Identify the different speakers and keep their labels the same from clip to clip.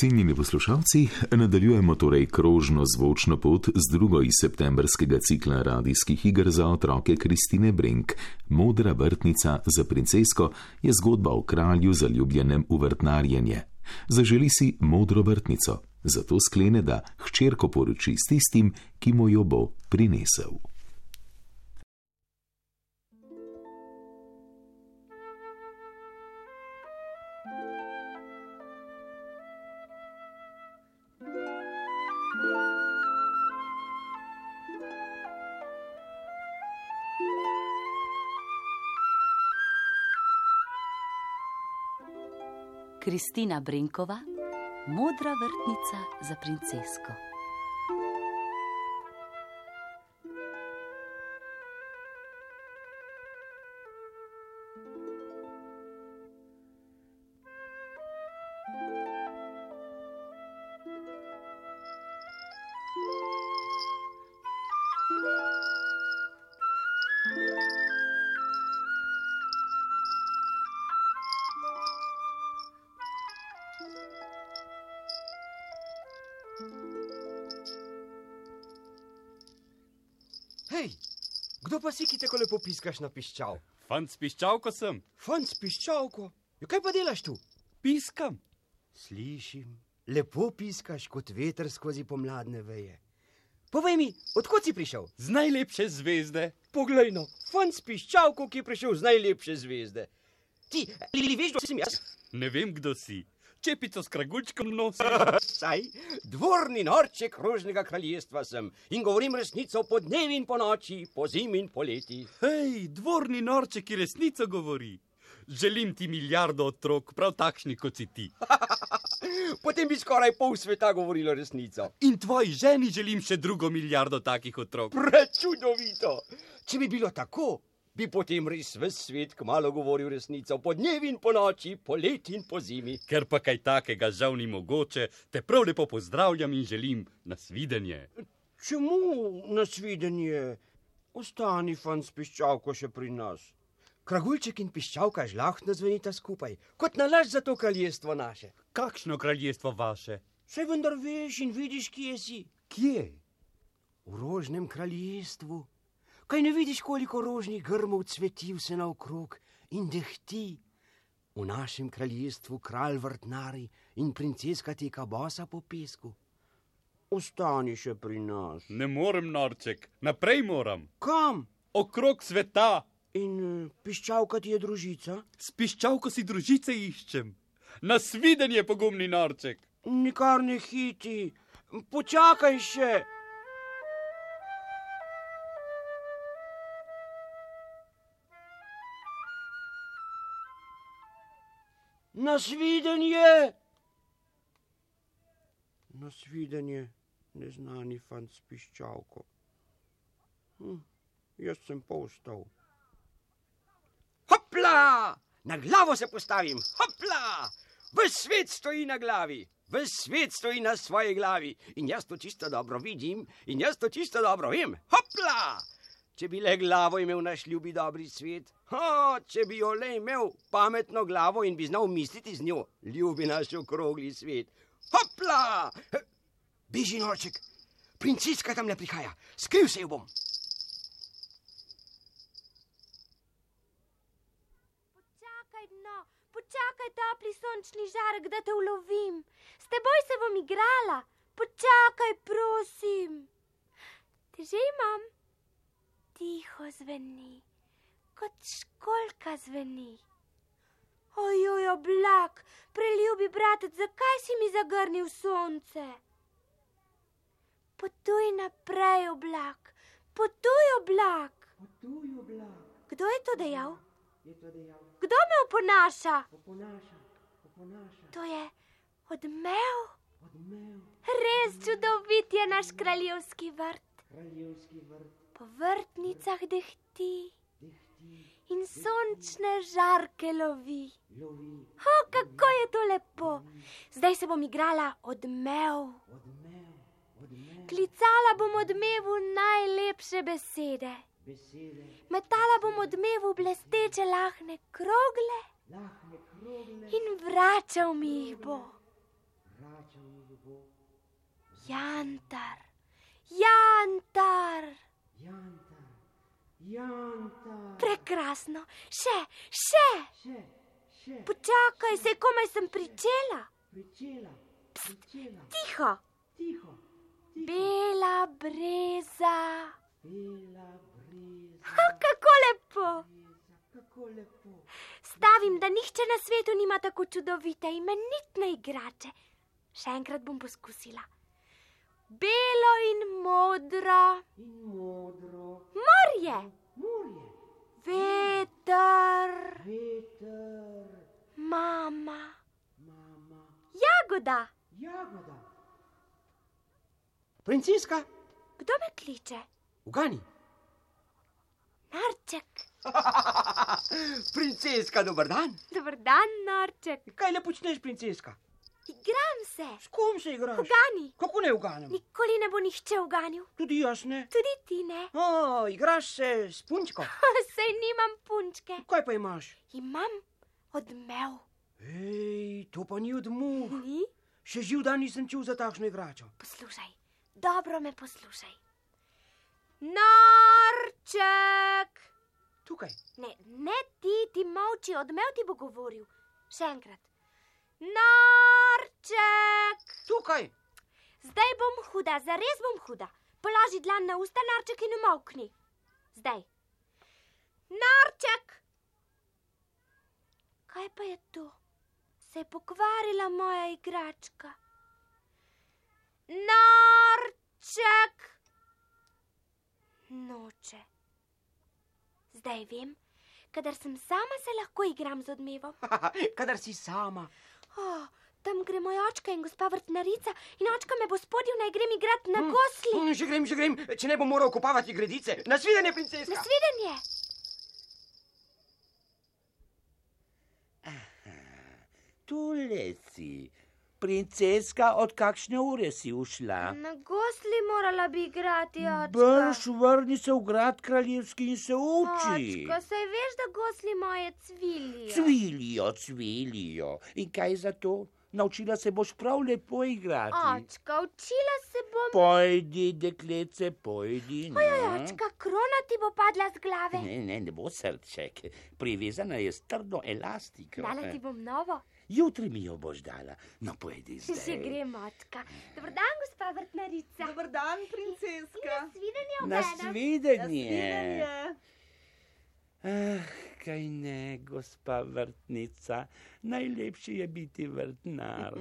Speaker 1: Cenjeni poslušalci, nadaljujemo torej krožno zvočno pot z drugo iz septembrskega cikla radijskih iger za otroke Kristine Brink. Modra vrtnica za princesko je zgodba o kralju zaljubljenem v vrtnarjenje. Zaželi si modro vrtnico, zato sklene, da hčerko poroči s tistim, ki mu jo bo prinesel.
Speaker 2: Kristina Brinkova, modra vrtnica za princesko.
Speaker 3: Hej, kdo pa si, ki tako lepo piskaš na piščal?
Speaker 4: Fant s piščalko sem,
Speaker 3: Fant s piščalko. Ja, kaj pa delaš tu?
Speaker 4: piskam.
Speaker 3: Slišim, lepo piskaš kot veter skozi pomladne veje. Povej mi, odkot si prišel?
Speaker 4: Z najlepše zvezde.
Speaker 3: Poglej, no, fant s piščalko, ki je prišel z najlepše zvezde. Ti, ali veš, kdo sem jaz?
Speaker 4: Ne vem, kdo si. Čepico s kraguljčkom nosi.
Speaker 3: Saj, dvorni norček rožnega kraljestva sem in govorim resnico po dnevi in po noči, po zimi in po leti.
Speaker 4: Hej, dvorni norček, ki resnico govori. Želim ti milijardo otrok, prav takšni kot si ti.
Speaker 3: Potem bi skoraj pol sveta govorilo resnico.
Speaker 4: In tvoji ženi želim še drugo milijardo takih otrok.
Speaker 3: Prečudovito. Če bi bilo tako, bi potem res ves svet kmalo govoril resnico, po dnevi in po noči, po leti in po zimi.
Speaker 4: Ker pa kaj takega žal ni mogoče, te prav lepo pozdravljam in želim nasvidenje.
Speaker 3: Čemu nasvidenje? Ostani, fant, s piščalko še pri nas. Kragulček in piščalka žlahno zvenita skupaj, kot nalaž za to kraljestvo naše.
Speaker 4: Kakšno kraljestvo vaše?
Speaker 3: Saj vendar veš in vidiš, kje si.
Speaker 4: Kje?
Speaker 3: V rožnem kraljestvu. Kaj ne vidiš, koliko rožnih grmov cveti vse naokrog in dehti? V našem kraljestvu kralj vrtnari in princeska teka bosa po pesku. Ostani še pri nas.
Speaker 4: Ne morem, norček, naprej moram.
Speaker 3: Kam?
Speaker 4: Okrog sveta.
Speaker 3: In eh, piščalka ti je družica?
Speaker 4: S piščalko si družice iščem. Nasvidenje, pogumni norček.
Speaker 3: Nikar ne hiti, počakaj še. Nasvidenje! Nasvidenje, neznani fant s piščalko. Hm, jaz sem pa vstal. Hopla! Na glavo se postavim, hopla! Ves svet stoji na glavi, ves svet stoji na svoji glavi in jaz to čisto dobro vidim in jaz to čisto dobro vem. Hopla! Če bi le glavo imel naš ljubi dobri svet, ha, če bi jo le imel pametno glavo in bi znal misliti z njo, ljubi naš okrogli svet. Hopla! Beži norček, princeska tam ne prihaja, skril se jo bom.
Speaker 5: Počakaj, no, počakaj, topli sončni žarek, da te ulovim. S teboj se bom igrala. Počakaj, prosim. Te že imam. Tiho zveni, kot školka zveni. Ojoj, oblak, preljubi bratec, zakaj si mi zagrnil sonce? Potuj naprej, oblak, potuj oblak. Potuj oblak. Kdo je to dejal? Kdo me oponaša? Oponaša, oponaša. To je odmev. odmev. Res čudovit je naš kraljevski vrt. Kraljevski vrt. Po vrtnicah dehti. In sončne žarke lovi. O, kako je to lepo! Zdaj se bom igrala odmev. Klicala bom odmevu najlepše besede. Metala bom odmevu blesteče lahne krogle in vračal mi jih bo. Jantar, jantar. Prekrasno, še, še. Počakaj, se komaj sem pričela. Pst, tiho. Bela breza. Ha, kako lepo. Stavim, da nihče na svetu nima tako čudovite imenitne igrače. Še enkrat bom poskusila. Belo in modro. In modro. Morje. Morje. Veter. Veter. Mama. Mama. Jagoda.
Speaker 3: Princeska,
Speaker 5: Kdo me kliče?
Speaker 3: ugani.
Speaker 5: Narček.
Speaker 3: Princeska, dober dan.
Speaker 5: Dobr dan, Narček.
Speaker 3: Kaj le počneš, princeska?
Speaker 5: Igram se.
Speaker 3: S kom se igraš?
Speaker 5: Ugani.
Speaker 3: Kako ne uganem?
Speaker 5: Nikoli ne bo nihče uganil.
Speaker 3: Tudi jaz ne.
Speaker 5: Tudi ti ne.
Speaker 3: O, igraš se s punčko.
Speaker 5: Sej nimam punčke.
Speaker 3: Kaj pa imaš?
Speaker 5: Imam odmev.
Speaker 3: Hej, to pa ni od muh.
Speaker 5: Ni?
Speaker 3: Še živ dan nisem čutil za takšno igračo.
Speaker 5: Poslušaj, dobro me poslušaj. Narček.
Speaker 3: Tukaj.
Speaker 5: Ne, ne ti, ti molči, odmev ti bo govoril. Še enkrat. Narček.
Speaker 3: Tukaj.
Speaker 5: Zdaj bom huda, zares bom huda. Položi dlan na usta, narček in umokni. Zdaj. Narček! Kaj pa je to? Se je pokvarila moja igračka. Narček! Noče. Zdaj vem, kadar sem sama, se lahko igram z odmevom.
Speaker 3: Kadar si sama.
Speaker 5: Oh, tam gre moj očka in gospa vrtnarica, in očka me bo spodil, naj grem igrat na
Speaker 6: Hm.
Speaker 5: gosli.
Speaker 3: Mm, že grem, že grem, če ne bom moral kopavati gredice. Nasvidenje,
Speaker 6: Hm.
Speaker 3: princeska.
Speaker 5: Nasvidenje!
Speaker 6: tu leci. Princeska, od kakšne ure si ušla?
Speaker 5: Na gosli morala bi igrati
Speaker 6: Ja. Brž vrni se v grad kraljevski in se uči.
Speaker 5: saj veš, da gosli moje cvili.
Speaker 6: Cvilijo, cvilijo. In kaj za to? Naučila se boš prav lepo igrati.
Speaker 5: Očka, učila se bom.
Speaker 6: Pojdi, deklice, pojdi. no.
Speaker 5: Očka, krona ti bo padla z glave.
Speaker 6: Ne, ne, ne bo srček. Privezana je s trdo elastiko.
Speaker 5: Dala ti bom novo.
Speaker 6: Jutri mi jo boš dala. No, pojdi zdaj.
Speaker 5: Že gremo, očka. Dobrodan, gospa vrtnarica.
Speaker 7: Dobar dan, princeska.
Speaker 5: Nasvidenje v
Speaker 6: Nasvidenje. Ah, kaj ne, gospa vrtnica, najlepše je biti vrtnar.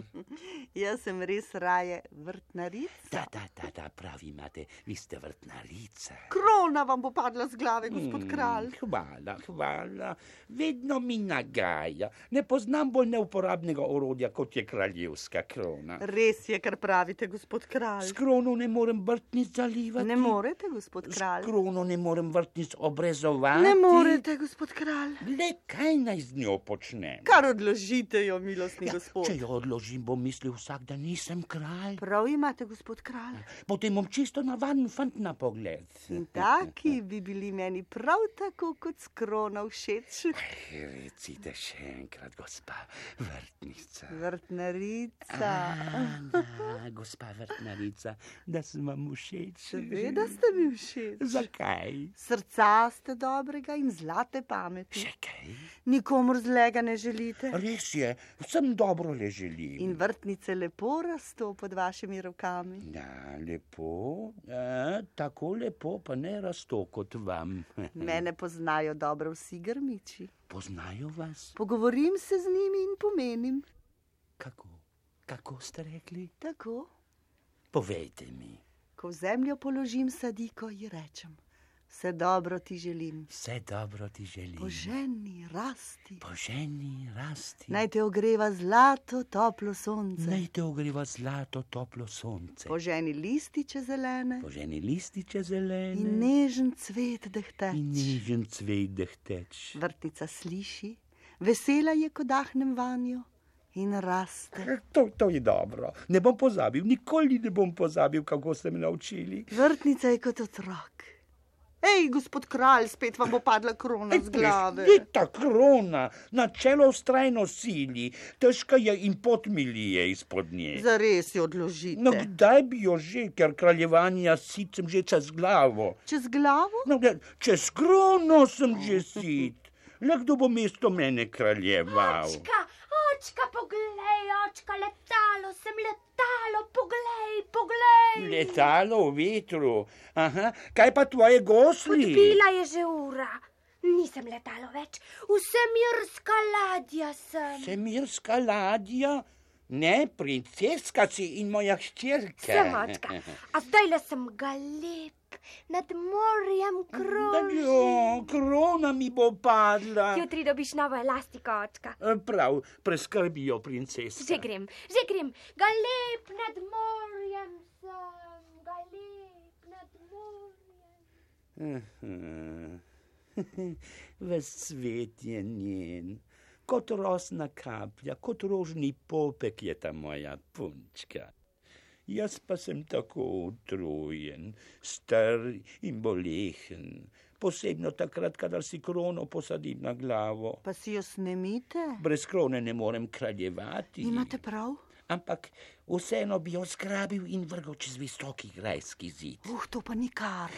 Speaker 7: Jaz sem res raje vrtnarica.
Speaker 6: Da, da, da, da pravi imate, vi ste vrtnarica.
Speaker 7: Krona vam bo padla z glave, gospod kralj.
Speaker 6: Mm, Hvala, hvala. Vedno mi nagaja. Ne poznam bolj neuporabnega orodja, kot je kraljevska krona.
Speaker 7: Res je, kar pravite, gospod kralj.
Speaker 6: S krono ne morem vrtnic zalivati.
Speaker 7: Ne morete, gospod
Speaker 6: S
Speaker 7: kralj.
Speaker 6: krono ne morem vrtnic obrezovati.
Speaker 7: Ne morete, gospod kralj.
Speaker 6: Le kaj naj z njo počnem?
Speaker 7: Kar odložite jo, milostni
Speaker 6: Ja,
Speaker 7: gospod.
Speaker 6: če jo odložim, bom mislil vsak, da nisem kralj.
Speaker 7: Prav imate, gospod kralj.
Speaker 6: Potem bom čisto navaden fant na pogled.
Speaker 7: In
Speaker 6: ja,
Speaker 7: taki bi bili meni prav tako kot s krono všeč.
Speaker 6: Recite še enkrat, gospa vrtnica.
Speaker 7: Vrtnarica.
Speaker 6: Ana, gospa vrtnarica, da sem vam všeč.
Speaker 7: Seveda ste mi všeč.
Speaker 6: Zakaj?
Speaker 7: Srca ste dobrega in zlate pameti.
Speaker 6: Še kaj?
Speaker 7: Nikomor zlega ne želite.
Speaker 6: Res je, vsem dobro le želim.
Speaker 7: In vrtnice lepo rasto pod vašimi rokami.
Speaker 6: Ja, lepo, e, tako lepo, pa ne rasto kot vam.
Speaker 7: Mene poznajo dobro vsi grmiči.
Speaker 6: Poznajo vas?
Speaker 7: Pogovorim se z njimi in pomenim.
Speaker 6: Kako? Kako ste rekli?
Speaker 7: Tako,
Speaker 6: Povejte mi.
Speaker 7: ko v zemljo položim sadiko in rečem: Vse dobro ti želim,
Speaker 6: Vse dobro ti želim.
Speaker 7: poženi, rasti.
Speaker 6: Poženi, rasti.
Speaker 7: Naj te ogreva zlato, toplo sonce.
Speaker 6: Naj te ogreva zlato, toplo sonce.
Speaker 7: Poženi lističe zelene
Speaker 6: Poženi lističe
Speaker 7: in
Speaker 6: zelene
Speaker 7: nežen cvet
Speaker 6: in
Speaker 7: dehteč.
Speaker 6: nežen cvet dehteč.
Speaker 7: Vrtnica sliši, vesela je, ko dahnem vanjo in raste.
Speaker 6: Eh, To, to je dobro. Ne bom pozabil, nikoli ne bom pozabil, kako ste me naučili.
Speaker 7: Vrtnica je kot otrok. Hej, gospod kralj, spet vam bo padla krona z glave.
Speaker 6: Leta krona, načelo vztrajno sili, težka je in pot milije izpod nje.
Speaker 7: Zares jo odložite.
Speaker 6: No, kdaj bi jo že, ker kraljevanja sicem že čez glavo.
Speaker 7: Čez glavo?
Speaker 6: No, gled, čez krono sem že sit. Le kdo bo mesto mene kraljeval?
Speaker 5: Očka, očka, poglej, očka, letalo, sem letalo, poglej, poglej.
Speaker 6: Letalo v vetru. Aha, kaj pa tvoje gosli?
Speaker 5: Odbila je že ura. Nisem letalo več, vsemirska ladja sem.
Speaker 6: Semirska ladja? Ne, princeska si in moja hčerka.
Speaker 5: Sem očka, a zdaj le sem galep, nad morjem krožim.
Speaker 6: Jo, krona mi bo padla.
Speaker 5: Jutri dobiš novo elastiko, očka.
Speaker 6: Eh, Prav, preskrbijo princesko.
Speaker 5: Že grem, že grem, galep nad morjem sem, galep nad morjem.
Speaker 6: Hm. Ves svet je njen, kot rosna kaplja, kot rožni popek je ta moja punčka. Jaz pa sem tako utrujen, star in bolehen, posebno takrat, kadar si krono posadim na glavo.
Speaker 7: Pa si jo snemite?
Speaker 6: Brez krone ne morem kraljevati.
Speaker 7: Imate prav?
Speaker 6: Ampak vseeno bi jo skrabil in vrgel čez visoki grajski zid.
Speaker 7: Uh, to pa nikar.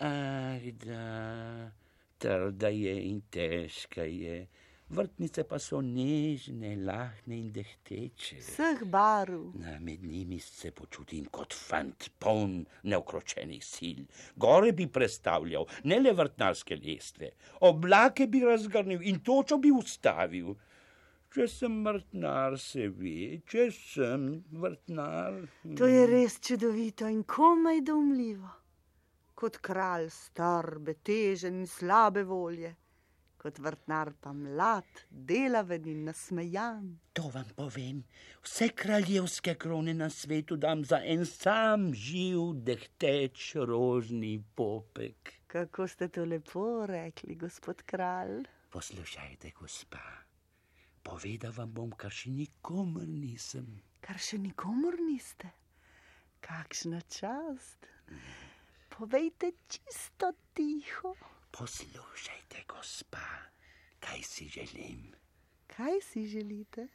Speaker 6: Ah, da, trda je in težka je, vrtnice pa so nežne, lahne in dehteče.
Speaker 7: Vseh barv.
Speaker 6: Na, med njimi se počutim kot fant, poln neokročenih sil. Gore bi predstavljal, ne le vrtnarske lestve, oblake bi razgrnil in točo bi ustavil. Če sem vrtnar, se ve, če sem vrtnar.
Speaker 7: To je res čudovito in komaj domljivo. Kot kralj, star, betežen in slabe volje, kot vrtnar pa mlad, delaven in nasmejan.
Speaker 6: To vam povem, vse kraljevske krone na svetu dam za en sam živ, dehteč, rožni popek.
Speaker 7: Kako ste to lepo rekli, gospod kralj?
Speaker 6: Poslušajte, gospa, povedal vam bom, kar še nikomor nisem.
Speaker 7: Kar še nikomor niste. Kakšna čast. Povejte čisto tiho,
Speaker 6: Poslušajte, gospa, kaj si želim.
Speaker 7: kaj si želite.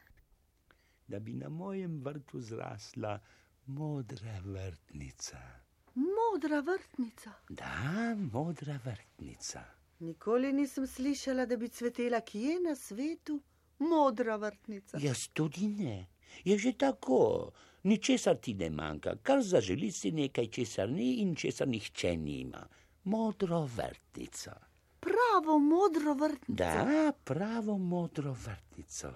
Speaker 6: Da bi na mojem vrtu zrasla modra vrtnica.
Speaker 7: Modra vrtnica.
Speaker 6: Da, modra vrtnica.
Speaker 7: Nikoli nisem slišala, da bi cvetela kje na svetu modra vrtnica.
Speaker 6: Jaz tudi ne. Je že tako, ničesar ti ne manjka, kar zaželiš si nekaj, česar ni in česar nihče nima. Modro vrtnico.
Speaker 7: Pravo modro vrtnico.
Speaker 6: Da, pravo modro vrtnico.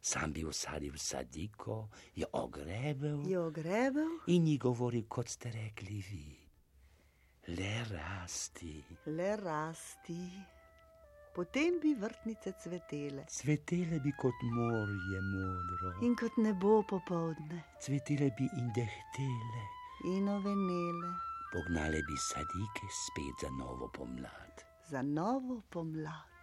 Speaker 6: Sam bi usadil sadiko, jo ogrebel
Speaker 7: Jo grebel,
Speaker 6: in ji govoril, kot ste rekli vi. Le rasti,
Speaker 7: le rasti. Potem bi vrtnice cvetele
Speaker 6: cvetele bi kot morje modro,
Speaker 7: in kot nebo popovdne
Speaker 6: cvetele bi in dehtele.
Speaker 7: in ovenele
Speaker 6: Pognale bi sadike spet za novo pomlad.
Speaker 7: za novo pomlad.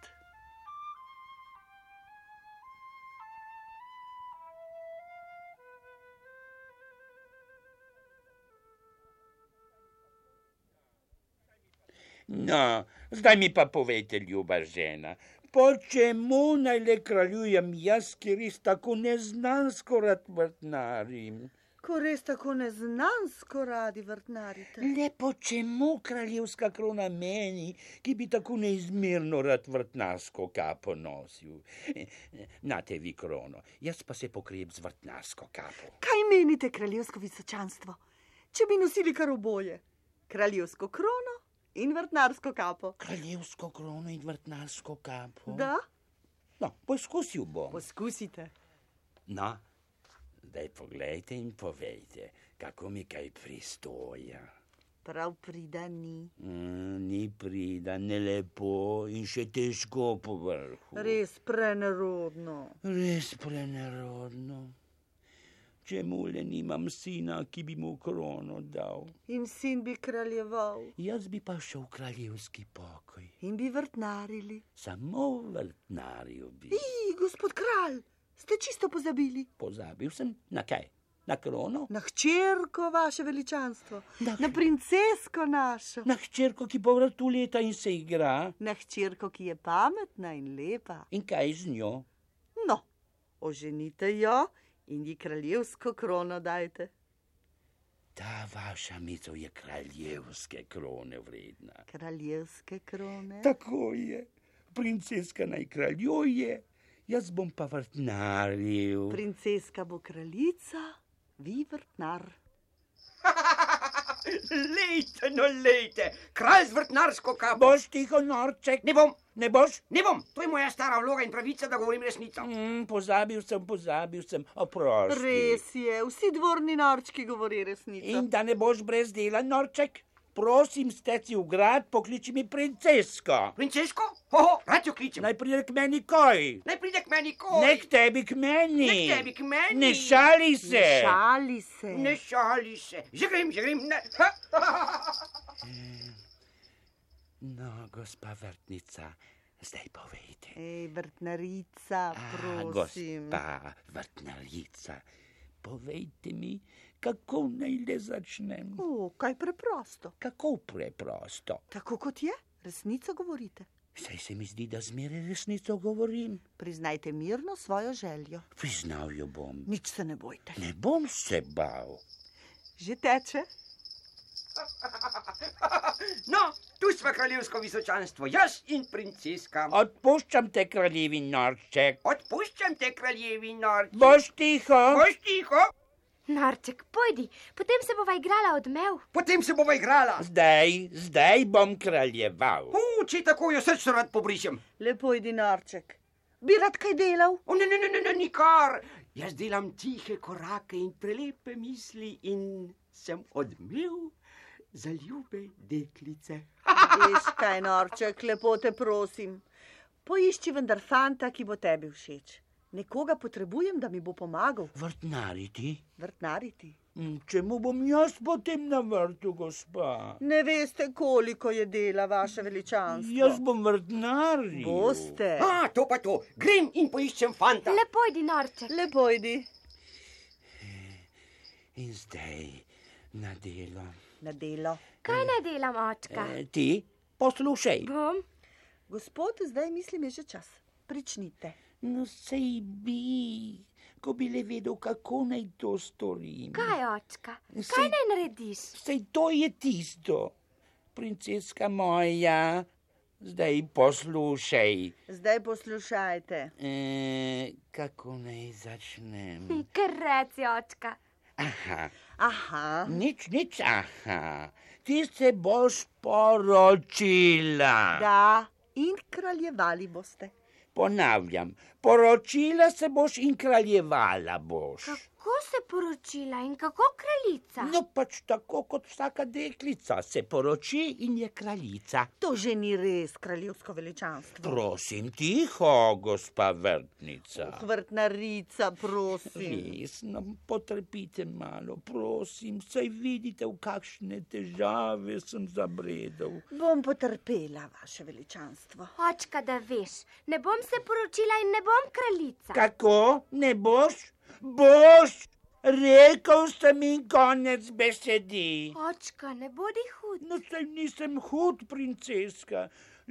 Speaker 6: No, zdaj mi pa povejte, ljuba žena, po čemu naj le kraljujem jaz, ki res tako neznansko rad vrtnarim?
Speaker 7: Ko res tako neznansko radi vrtnarite.
Speaker 6: Le po čemu kraljevska krona meni, ki bi tako neizmerno rad vrtnarsko kapo nosil? Nate vi krono, jaz pa se pokrijem z vrtnarsko kapo.
Speaker 7: Kaj menite, kraljevsko visočanstvo? Če bi nosili kar oboje, kraljevsko krono in vrtnarsko kapo.
Speaker 6: Kraljevsko krono in vrtnarsko kapo.
Speaker 7: Da,
Speaker 6: No, poskusil bom.
Speaker 7: poskusite.
Speaker 6: No, zdaj poglejte in povejte, kako mi kaj pristoja.
Speaker 7: Prav prida ni.
Speaker 6: Mm, ni prida, ne lepo in še težko po vrhu.
Speaker 7: Res prenerodno.
Speaker 6: Res prenerodno. Čemu le nimam sina, ki bi mu krono dal?
Speaker 7: In sin bi kraljeval
Speaker 6: Jaz bi pa šel v kraljevski pokoj,
Speaker 7: in bi vrtnarili.
Speaker 6: samo vrtnarju bi.
Speaker 7: I, gospod kralj, ste čisto pozabili.
Speaker 6: Pozabil sem na kaj? na krono,
Speaker 7: Na hčerko, vaše veličanstvo, na, na princesko našo, na,
Speaker 6: na hčerko, ki po vrtu leta in se igra.
Speaker 7: na hčerko, ki je pametna in lepa.
Speaker 6: In kaj z njo?
Speaker 7: No, oženite jo in ji kraljevsko krono dajte.
Speaker 6: Ta vaša misel je kraljevske krone vredna.
Speaker 7: Kraljevske krone.
Speaker 6: Tako je, princeska naj kraljuje, jaz bom pa vrtnaril.
Speaker 7: Princeska bo kraljica, vi vrtnar.
Speaker 3: Lejte, no lejte, kralj z vrtnarsko kabo.
Speaker 6: Boš tiho norček,
Speaker 3: Ne bom,
Speaker 6: ne boš?
Speaker 3: ne bom, to je moja stara vloga in pravica, da govorim resnico.
Speaker 6: Mm, pozabil sem, pozabil sem, oprosti.
Speaker 7: Res je, vsi dvorni norčki govori resnico.
Speaker 6: In da ne boš brez dela norček, prosim, steci v grad, pokliči mi princesko.
Speaker 3: Princesko, hoho, rad jo kličem. Naj,
Speaker 6: Naj pride k meni koj,
Speaker 3: Naj pride k meni ko.
Speaker 6: ne k tebi k meni.
Speaker 3: Ne k tebi k meni.
Speaker 6: Ne šali se.
Speaker 7: Ne šali se.
Speaker 3: Ne šali se, že grem, že grem. Ne.
Speaker 6: No, gospa vrtnica, zdaj povejte.
Speaker 7: Ej, vrtnarica,
Speaker 6: A,
Speaker 7: prosim.
Speaker 6: gospa vrtnarica, povejte mi, kako naj le začnem.
Speaker 7: O, kaj preprosto.
Speaker 6: Kako preprosto.
Speaker 7: Tako kot je, resnico govorite.
Speaker 6: Saj se mi zdi, da zmeraj resnico govorim.
Speaker 7: Priznajte mirno svojo željo.
Speaker 6: Priznal jo bom.
Speaker 7: Nič se ne bojte.
Speaker 6: Ne bom se bal.
Speaker 7: Že teče?
Speaker 3: No, tu smo kraljevsko visočanstvo, jaz in princeska.
Speaker 6: Odpuščam te, kraljevi norček.
Speaker 3: Odpuščam te kraljevi norci.
Speaker 6: Boš tiho?
Speaker 3: Boš tiho,
Speaker 5: Narček, pojdi, potem se bova igrala odmev.
Speaker 3: potem se bova igrala.
Speaker 6: Zdaj, zdaj bom kraljeval.
Speaker 3: U, če tako jo srčno rad pobrišem.
Speaker 7: Lepo idi norček. Bi rad kaj delal?
Speaker 3: O, ne, ne, ne, ne, ne, nikar. Jaz delam tihe korake in prelepe misli in sem odmil za ljube deklice.
Speaker 7: Veš kaj, norček, lepo te prosim. Poišči vendar fanta, ki bo tebi všeč. Nekoga potrebujem, da mi bo pomagal
Speaker 6: Vrtnariti?
Speaker 7: vrtnariti.
Speaker 6: Mm, Čemu bom jaz potem na vrtu, gospa?
Speaker 7: Ne veste, koliko je dela, vaše veličanstvo.
Speaker 6: Jaz bom vrtnaril.
Speaker 7: Boste.
Speaker 6: Eh.
Speaker 3: A, to pa to, grem in poiščem fanta.
Speaker 5: Le pojdi, Narček.
Speaker 7: Lepo idi
Speaker 6: In zdaj na delo.
Speaker 7: na delo.
Speaker 5: Kaj naj delam, očka?
Speaker 6: E, ti, poslušaj.
Speaker 5: Bom,
Speaker 7: Gospod, zdaj mislim, je že čas. Pričnite.
Speaker 6: No, sej bi, ko bi le vedel, kako naj to storim.
Speaker 5: kaj očka? Kaj
Speaker 6: Saj-
Speaker 5: naj narediš?
Speaker 6: Sej to je tisto, princeska moja. Zdaj poslušaj,
Speaker 7: Zdaj poslušajte.
Speaker 6: e, kako naj začnem.
Speaker 5: Kar reci, očka.
Speaker 6: Aha,
Speaker 7: Aha,
Speaker 6: nič, nič, aha. Ti se boš poročila.
Speaker 7: da, in kraljevali boste.
Speaker 6: Ponavljam, poročila se boš in kraljevala boš.
Speaker 5: Kako se poročila in kako kraljica?
Speaker 6: No, pač tako kot vsaka deklica se poroči in je kraljica.
Speaker 7: To že ni res kraljevsko veličanstvo.
Speaker 6: Prosim, tiho, gospa vrtnica.
Speaker 7: Vrtnarica, prosim.
Speaker 6: Resno, no, potrpite malo, prosim, saj vidite, v kakšne težave sem zabredel.
Speaker 7: Bom potrpela, vaše veličanstvo.
Speaker 5: Očka, da veš, ne bom se poročila in ne bom kraljica.
Speaker 6: Kako ne boš? Boš! Rekel sem in konec besedi.
Speaker 5: Očka, ne bodi hud.
Speaker 6: No, saj nisem hud, princeska,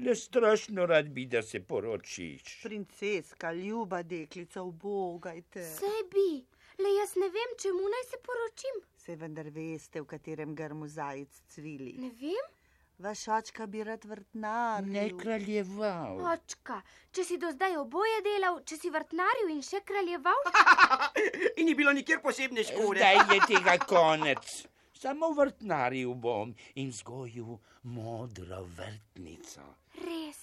Speaker 6: le strašno rad bi, da se poročiš.
Speaker 7: Princeska, ljuba deklica, obogajte.
Speaker 5: Sej bi, le jaz ne vem, čemu naj se poročim.
Speaker 7: Se vendar veste, v katerem grmu zajec cvili.
Speaker 5: Ne vem,
Speaker 7: Vaš očka bi rad vrtnar.
Speaker 6: Ne kraljeval.
Speaker 5: očka, če si do zdaj oboje delal, če si vrtnaril in še kraljeval,
Speaker 3: In ni bilo nikjer posebne škode.
Speaker 6: Zdaj je tega konec. Samo vrtnaril bom in vzgojil modro vrtnico.
Speaker 5: res,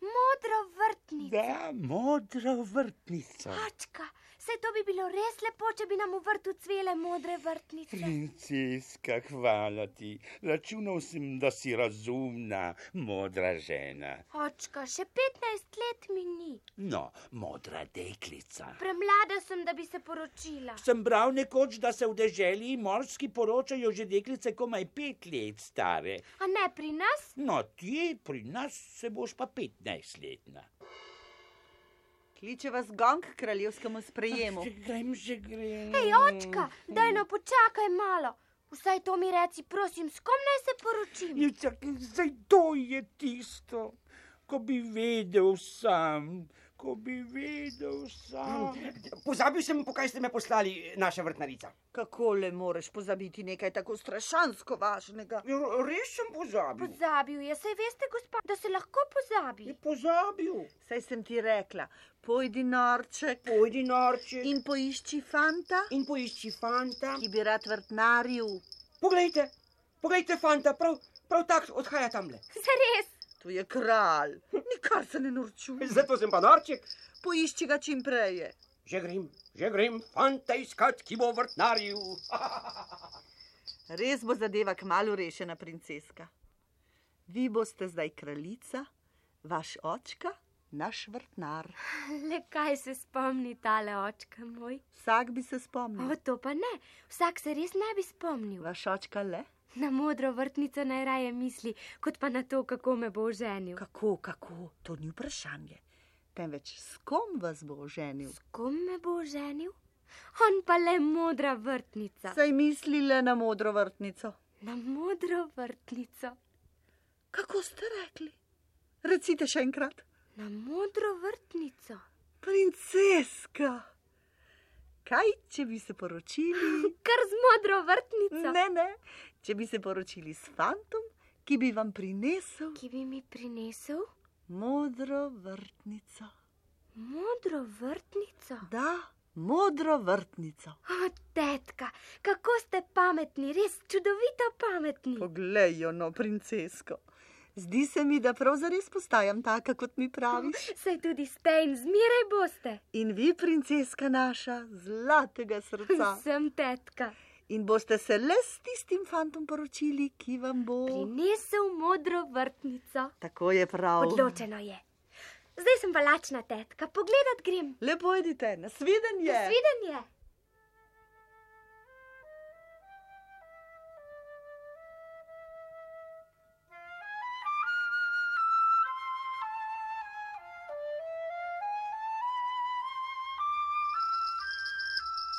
Speaker 5: modro vrtni.
Speaker 6: Da, modro vrtnico.
Speaker 5: Očka, saj to bi bilo res lepo, če bi nam v vrtu cvele modre vrtnice.
Speaker 6: Princeska, hvala ti. Računal sem, da si razumna, modra žena.
Speaker 5: Očka, še 15 let mi ni.
Speaker 6: No, modra deklica.
Speaker 5: Premlada sem, da bi se poročila.
Speaker 6: Sem bral nekoč, da se v deželi morski poročajo že deklice komaj pet let stare.
Speaker 5: A ne pri nas?
Speaker 6: No, ti pri nas se boš pa petnajstletna.
Speaker 7: Kliče vas gong k kraljevskemu sprejemu.
Speaker 6: grem, že grem.
Speaker 5: Hej, očka, daj no počakaj malo. Vsaj to mi reci, prosim, s kom naj se poročim?
Speaker 6: Je čakaj, zdaj to je tisto, ko bi vedel sam, ko bi vedel sam.
Speaker 3: Hm. Pozabil sem, pokaj ste me poslali, naša vrtnarica.
Speaker 7: Kako le moreš pozabiti nekaj tako strašansko važnega?
Speaker 3: Ja, Res sem pozabil.
Speaker 5: Pozabil je, saj veste, gospa, da se lahko pozabi.
Speaker 3: Je pozabil.
Speaker 7: Saj sem ti rekla, pojdi norček
Speaker 3: Pojdi norče in,
Speaker 7: in poišči fanta,
Speaker 3: in poišči fanta.
Speaker 7: ki bi rad vrtnaril.
Speaker 3: Poglejte, poglejte fanta, prav, prav tako odhaja tamle.
Speaker 5: Zares,
Speaker 7: To je kralj, nikar se ne norčuje.
Speaker 3: Zato sem pa norček.
Speaker 7: Poišči ga čim prej.
Speaker 3: Že grem, že grem, fanta iskat, ki bo vrtnaril.
Speaker 7: Res bo zadeva kmalo rešena, princeska. Vi boste zdaj kraljica, vaš očka, naš vrtnar.
Speaker 5: le kaj se spomni tale očka moj?
Speaker 7: Vsak bi se
Speaker 5: O,
Speaker 7: spomnil,
Speaker 5: to pa ne, vsak se res ne bi spomnil.
Speaker 7: vaš očka le.
Speaker 5: Na modro vrtnico najraje misli, kot pa na to, kako me bo ženil.
Speaker 7: Kako, kako, to ni vprašanje. Temveč s kom vas bo oženil?
Speaker 5: S kom me bo ženil? On pa le modra vrtnica.
Speaker 7: Saj mislile na modro vrtnico.
Speaker 5: Na modro vrtnico.
Speaker 7: Kako ste rekli? Recite še enkrat.
Speaker 5: Na modro vrtnico.
Speaker 7: Princeska. Kaj, če bi se poročili?
Speaker 5: Kar z modro vrtnico.
Speaker 7: Ne, ne, če bi se poročili s fantom, ki bi vam prinesel
Speaker 5: Ki bi mi prinesel
Speaker 7: modro vrtnico.
Speaker 5: modro vrtnico.
Speaker 7: Da, modro vrtnico.
Speaker 5: O, tetka, kako ste pametni, res čudovito pametni.
Speaker 7: Poglej, jo, no, princesko. Zdi se mi, da pravzaprav postajam taka, kot mi praviš.
Speaker 5: Saj tudi ste in zmeraj boste.
Speaker 7: In vi, princeska naša, zlatega srca.
Speaker 5: Sem tetka.
Speaker 7: In boste se le s tistim fantom poročili, ki vam bo.
Speaker 5: Prinesel modro vrtnico.
Speaker 7: Tako je prav.
Speaker 5: Odločeno je. Zdaj sem pa lačna tetka, pogledat grem.
Speaker 7: Lepo idite, nasvidenje.
Speaker 5: Svidenje.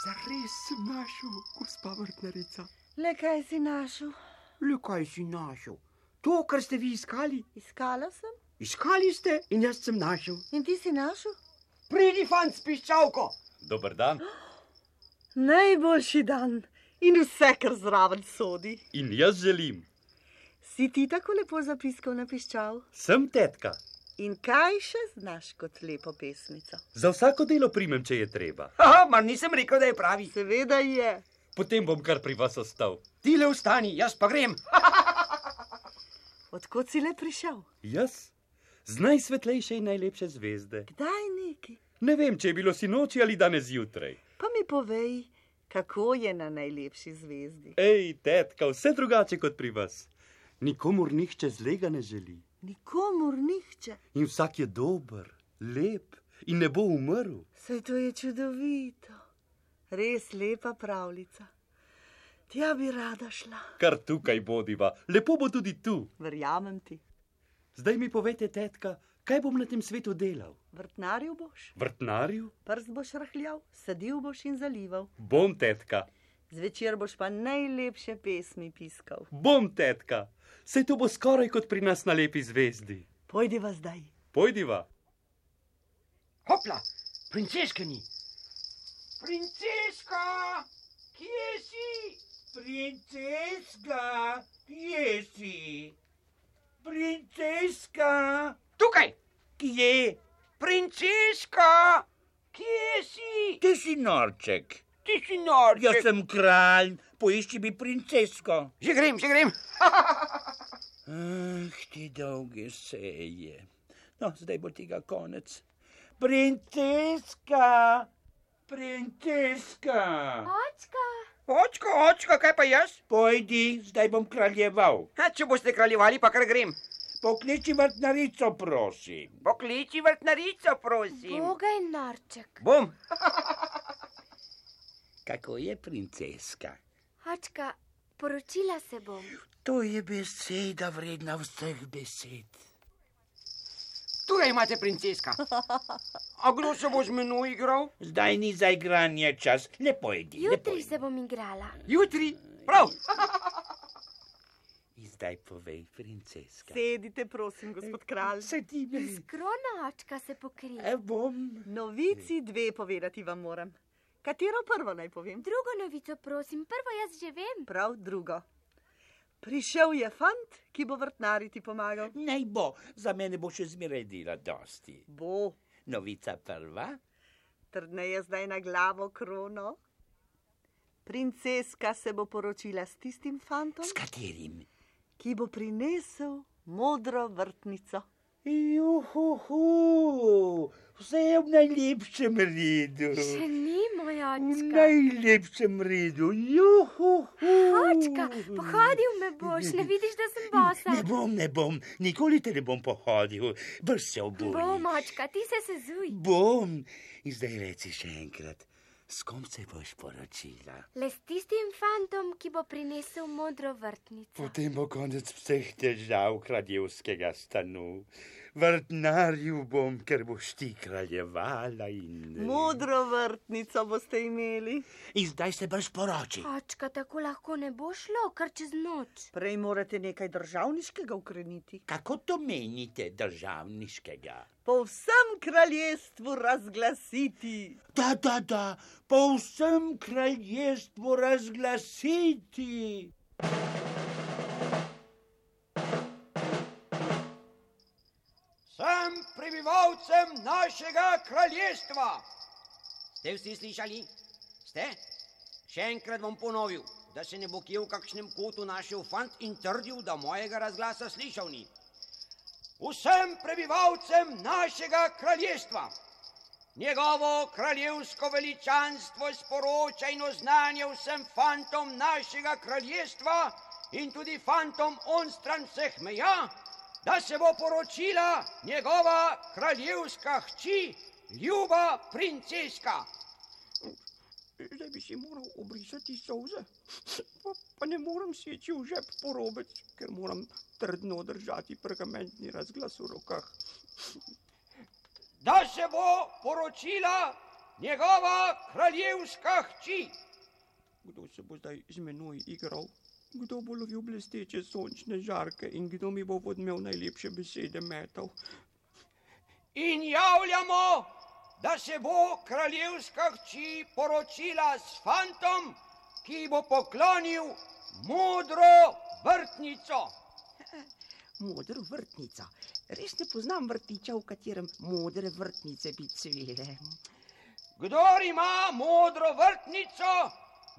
Speaker 3: Zares sem našel, gospa vrtnarica.
Speaker 7: Le kaj si našel?
Speaker 3: Le kaj si našel? To, kar ste vi iskali,
Speaker 7: Iskala sem
Speaker 3: iskali ste in jaz sem našel.
Speaker 7: in ti si našel?
Speaker 3: Pridi fant s piščalko.
Speaker 4: Dober dan.
Speaker 7: Najboljši dan in vse, kar zraven sodi.
Speaker 4: In jaz želim.
Speaker 7: Si ti tako lepo zapiskal na piščal?
Speaker 4: Sem tetka.
Speaker 7: In kaj še znaš kot lepo pesnico?
Speaker 4: Za vsako delo primem, če je treba.
Speaker 3: Haha, mar nisem rekel, da je pravi.
Speaker 7: Seveda je.
Speaker 4: Potem bom kar pri vas ostal.
Speaker 3: Ti le vstani, jaz pa grem.
Speaker 7: Odkot si le prišel?
Speaker 4: Jaz? Z najsvetlejše in najlepše zvezde.
Speaker 7: Kdaj neki?
Speaker 4: Ne vem, če je bilo sinoči ali danes zjutraj.
Speaker 7: Pa mi povej, kako je na najlepši zvezdi.
Speaker 4: Ej, tetka, vse drugače kot pri vas. Nikomur nihče zlega ne želi.
Speaker 7: Nikomur nihče.
Speaker 4: In vsak je dober, lep in ne bo umrl.
Speaker 7: Saj to je čudovito. Res lepa pravljica. Tja bi rada šla.
Speaker 4: Kar tukaj bodiva, lepo bo tudi tu.
Speaker 7: Verjamem ti.
Speaker 4: Zdaj mi povete, tetka, kaj bom na tem svetu delal?
Speaker 7: Vrtnaril boš,
Speaker 4: Vrtnarju?
Speaker 7: prst boš rahljal, sadil boš in zalival.
Speaker 4: Bom tetka,
Speaker 7: Zvečer boš pa najlepše pesmi piskal.
Speaker 4: bom tetka. Sej to bo skoraj kot pri nas na lepi zvezdi.
Speaker 7: Pojdiva zdaj.
Speaker 4: Pojdiva.
Speaker 3: Hopla, princeske ni. Princeska, kje si?
Speaker 6: Princeska, kje si? Princeska,
Speaker 3: Tukaj,
Speaker 6: kje?
Speaker 3: princeska, kje si?
Speaker 6: Ti si norček,
Speaker 3: Ti si nor.
Speaker 6: jaz sem kralj, poišči mi princesko.
Speaker 3: Že grem, že grem.
Speaker 6: Ah, ti dolge seje. No, zdaj bo tega konec. Princeska, princeska,
Speaker 5: Očka,
Speaker 3: Očko, očko, kaj pa jaz?
Speaker 6: pojdi, zdaj bom kraljeval.
Speaker 3: Ha, če boste kraljevali, pa kar grem.
Speaker 6: Pokliči vrtnarico, prosim.
Speaker 3: Pokliči vrtnarico, prosim.
Speaker 5: boga in norček.
Speaker 3: Bom,
Speaker 6: Kako je princeska?
Speaker 5: Očka, poročila se bom.
Speaker 6: To je beseda vredna vseh besed.
Speaker 3: Tukaj imate princeska. A kdo se bo z menoj igral?
Speaker 6: Zdaj ni za igranje čas, lepo idi. lepo
Speaker 5: Jutri
Speaker 6: idi.
Speaker 5: se bom igrala.
Speaker 3: Jutri, prav.
Speaker 6: In Zdaj povej, princeska.
Speaker 7: Sedite, prosim, gospod kralj.
Speaker 6: Sedi mi.
Speaker 5: S krono očka se pokrije.
Speaker 6: E, bom.
Speaker 7: Novici dve povedati vam moram. Katero prvo naj povem?
Speaker 5: Drugo novico, prosim, prvo jaz že vem.
Speaker 7: Prav drugo. Prišel je fant, ki bo vrtnariti pomagal.
Speaker 6: Naj bo, za mene bo še zmeraj dela dosti.
Speaker 7: Bo,
Speaker 6: Novica prva,
Speaker 7: trdneje zdaj na glavo krono. Princeska se bo poročila s tistim fantom,
Speaker 6: s katerim?
Speaker 7: ki bo prinesel modro vrtnico.
Speaker 6: Juhu, vse je v najlepšem redu.
Speaker 5: Še ni moj
Speaker 6: V
Speaker 5: očka.
Speaker 6: najlepšem redu, juhu.
Speaker 5: Očka, pohodil me boš, ne vidiš, da sem bosa.
Speaker 6: Ne bom, ne bom, nikoli te ne bom pohodil, brž se
Speaker 5: Bom,
Speaker 6: obujam.
Speaker 5: očka, ti se sezuj.
Speaker 6: Bom, in zdaj reci še enkrat, s kom se boš poročila.
Speaker 5: Le s tistim fantom, ki bo prinesel modro vrtnico.
Speaker 6: Potem bo konec vseh težav kraljevskega stanu. Vrtnarju bom, ker boš ti kraljevala in.
Speaker 7: Modro vrtnico boste imeli.
Speaker 6: In zdaj se brž poroči.
Speaker 5: Očka, tako lahko ne bo šlo, kar čez noč.
Speaker 7: Prej morate nekaj državniškega ukreniti.
Speaker 6: Kako to menite državniškega?
Speaker 7: Po vsem kraljestvu razglasiti.
Speaker 6: Da, da, da, po vsem kraljestvu razglasiti.
Speaker 3: Sem prebivalcem našega kraljestva. Ste vsi slišali? Ste? Še enkrat bom ponovil, da se ne bo kje v kakšnem kotu našel fant in trdil, da mojega razglasa slišal ni. Vsem prebivalcem našega kraljestva. Njegovo kraljevsko veličanstvo sporoča in oznanja vsem fantom našega kraljestva in tudi fantom onstran vseh meja, da se bo poročila njegova kraljevska hči, ljuba princeska. Zdaj bi si moral obrisati solze, pa, pa ne morem seči v žep porobec, ker moram trdno držati pergamentni razglas v rokah da se bo poročila njegova kraljevska hči. Kdo se bo zdaj z menoj igral? Kdo bo lovil blesteče sončne žarke in kdo mi bo odmev najlepše besede metal? In javljamo, da se bo kraljevska hči poročila s fantom, ki ji bo poklonil modro vrtnico.
Speaker 8: modra vrtnica. Res ne poznam vrtiča, v katerem modre vrtnice bi cvele.
Speaker 3: Kdor ima modro vrtnico,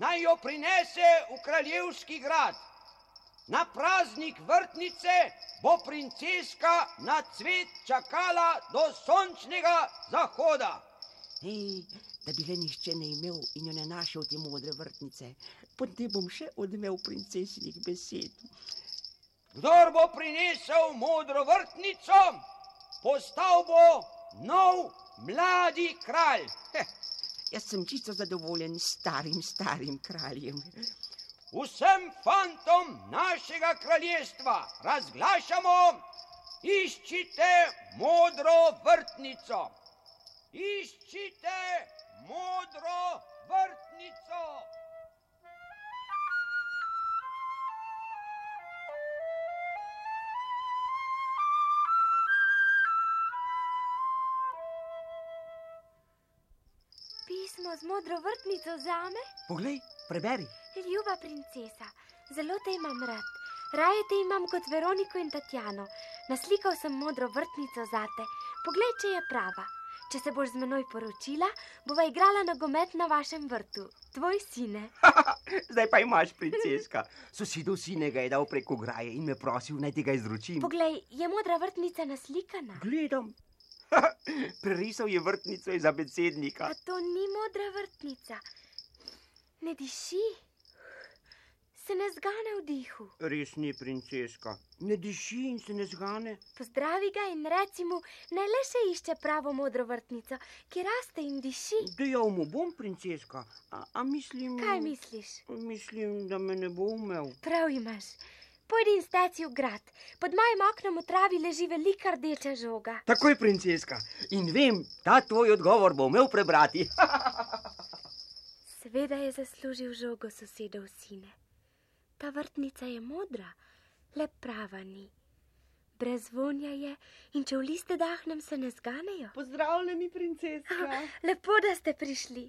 Speaker 3: naj jo prinese v kraljevski grad. Na praznik vrtnice bo princeska na cvet čakala do sončnega zahoda.
Speaker 8: Ej, da bi le nišče ne imel in jo ne našel te modre vrtnice. Potem bom še odmev princesinih besed.
Speaker 3: Kdor bo prinesel modro vrtnico, postal bo nov mladi kralj. Heh.
Speaker 8: Jaz sem čisto zadovoljen s starim, starim kraljem.
Speaker 3: Vsem fantom našega kraljestva razglašamo: iščite modro vrtnico. Iščite modro vrtnico.
Speaker 5: Pismo z modro vrtnico za me?
Speaker 8: Poglej, preberi.
Speaker 5: Ljuba princesa, zelo te imam rad. Raje te imam kot Veroniko in Tatjano. Naslikal sem modro vrtnico zate. Poglej, če je prava. Če se boš z menoj poročila, bova igrala nogomet na vašem vrtu. Tvoj sine.
Speaker 8: Zdaj pa imaš princeska. Sosedov sinega je dal preko graje in me prosil, naj ti ga izročim.
Speaker 5: Poglej, je modra vrtnica naslikana.
Speaker 8: Gledam. Prerisal je vrtnico iz abecednika.
Speaker 5: A to ni modra vrtnica. Ne diši, se ne zgane v dihu.
Speaker 3: Res ni princeska, ne diši in se ne zgane.
Speaker 5: Pozdravi ga in reci mu, naj le še išče pravo modro vrtnico, ki raste in diši.
Speaker 3: Dejal mu bom, princeska, a, a mislim,
Speaker 5: Mm. Kaj misliš?
Speaker 3: mislim, da me ne bo umel.
Speaker 5: Prav imaš. Pojdi in steci v grad. Pod mojim oknom v travi leži velika rdeča žoga.
Speaker 3: Takoj, princeska. In vem, ta tvoj odgovor bo imel prebrati.
Speaker 5: Seveda je zaslužil žogo sosedov sine. Ta vrtnica je modra, le prava ni. Brez vonja je in če v liste dahnem, se ne zganejo.
Speaker 7: Pozdravljeni, princeska.
Speaker 5: Lepo, da ste prišli.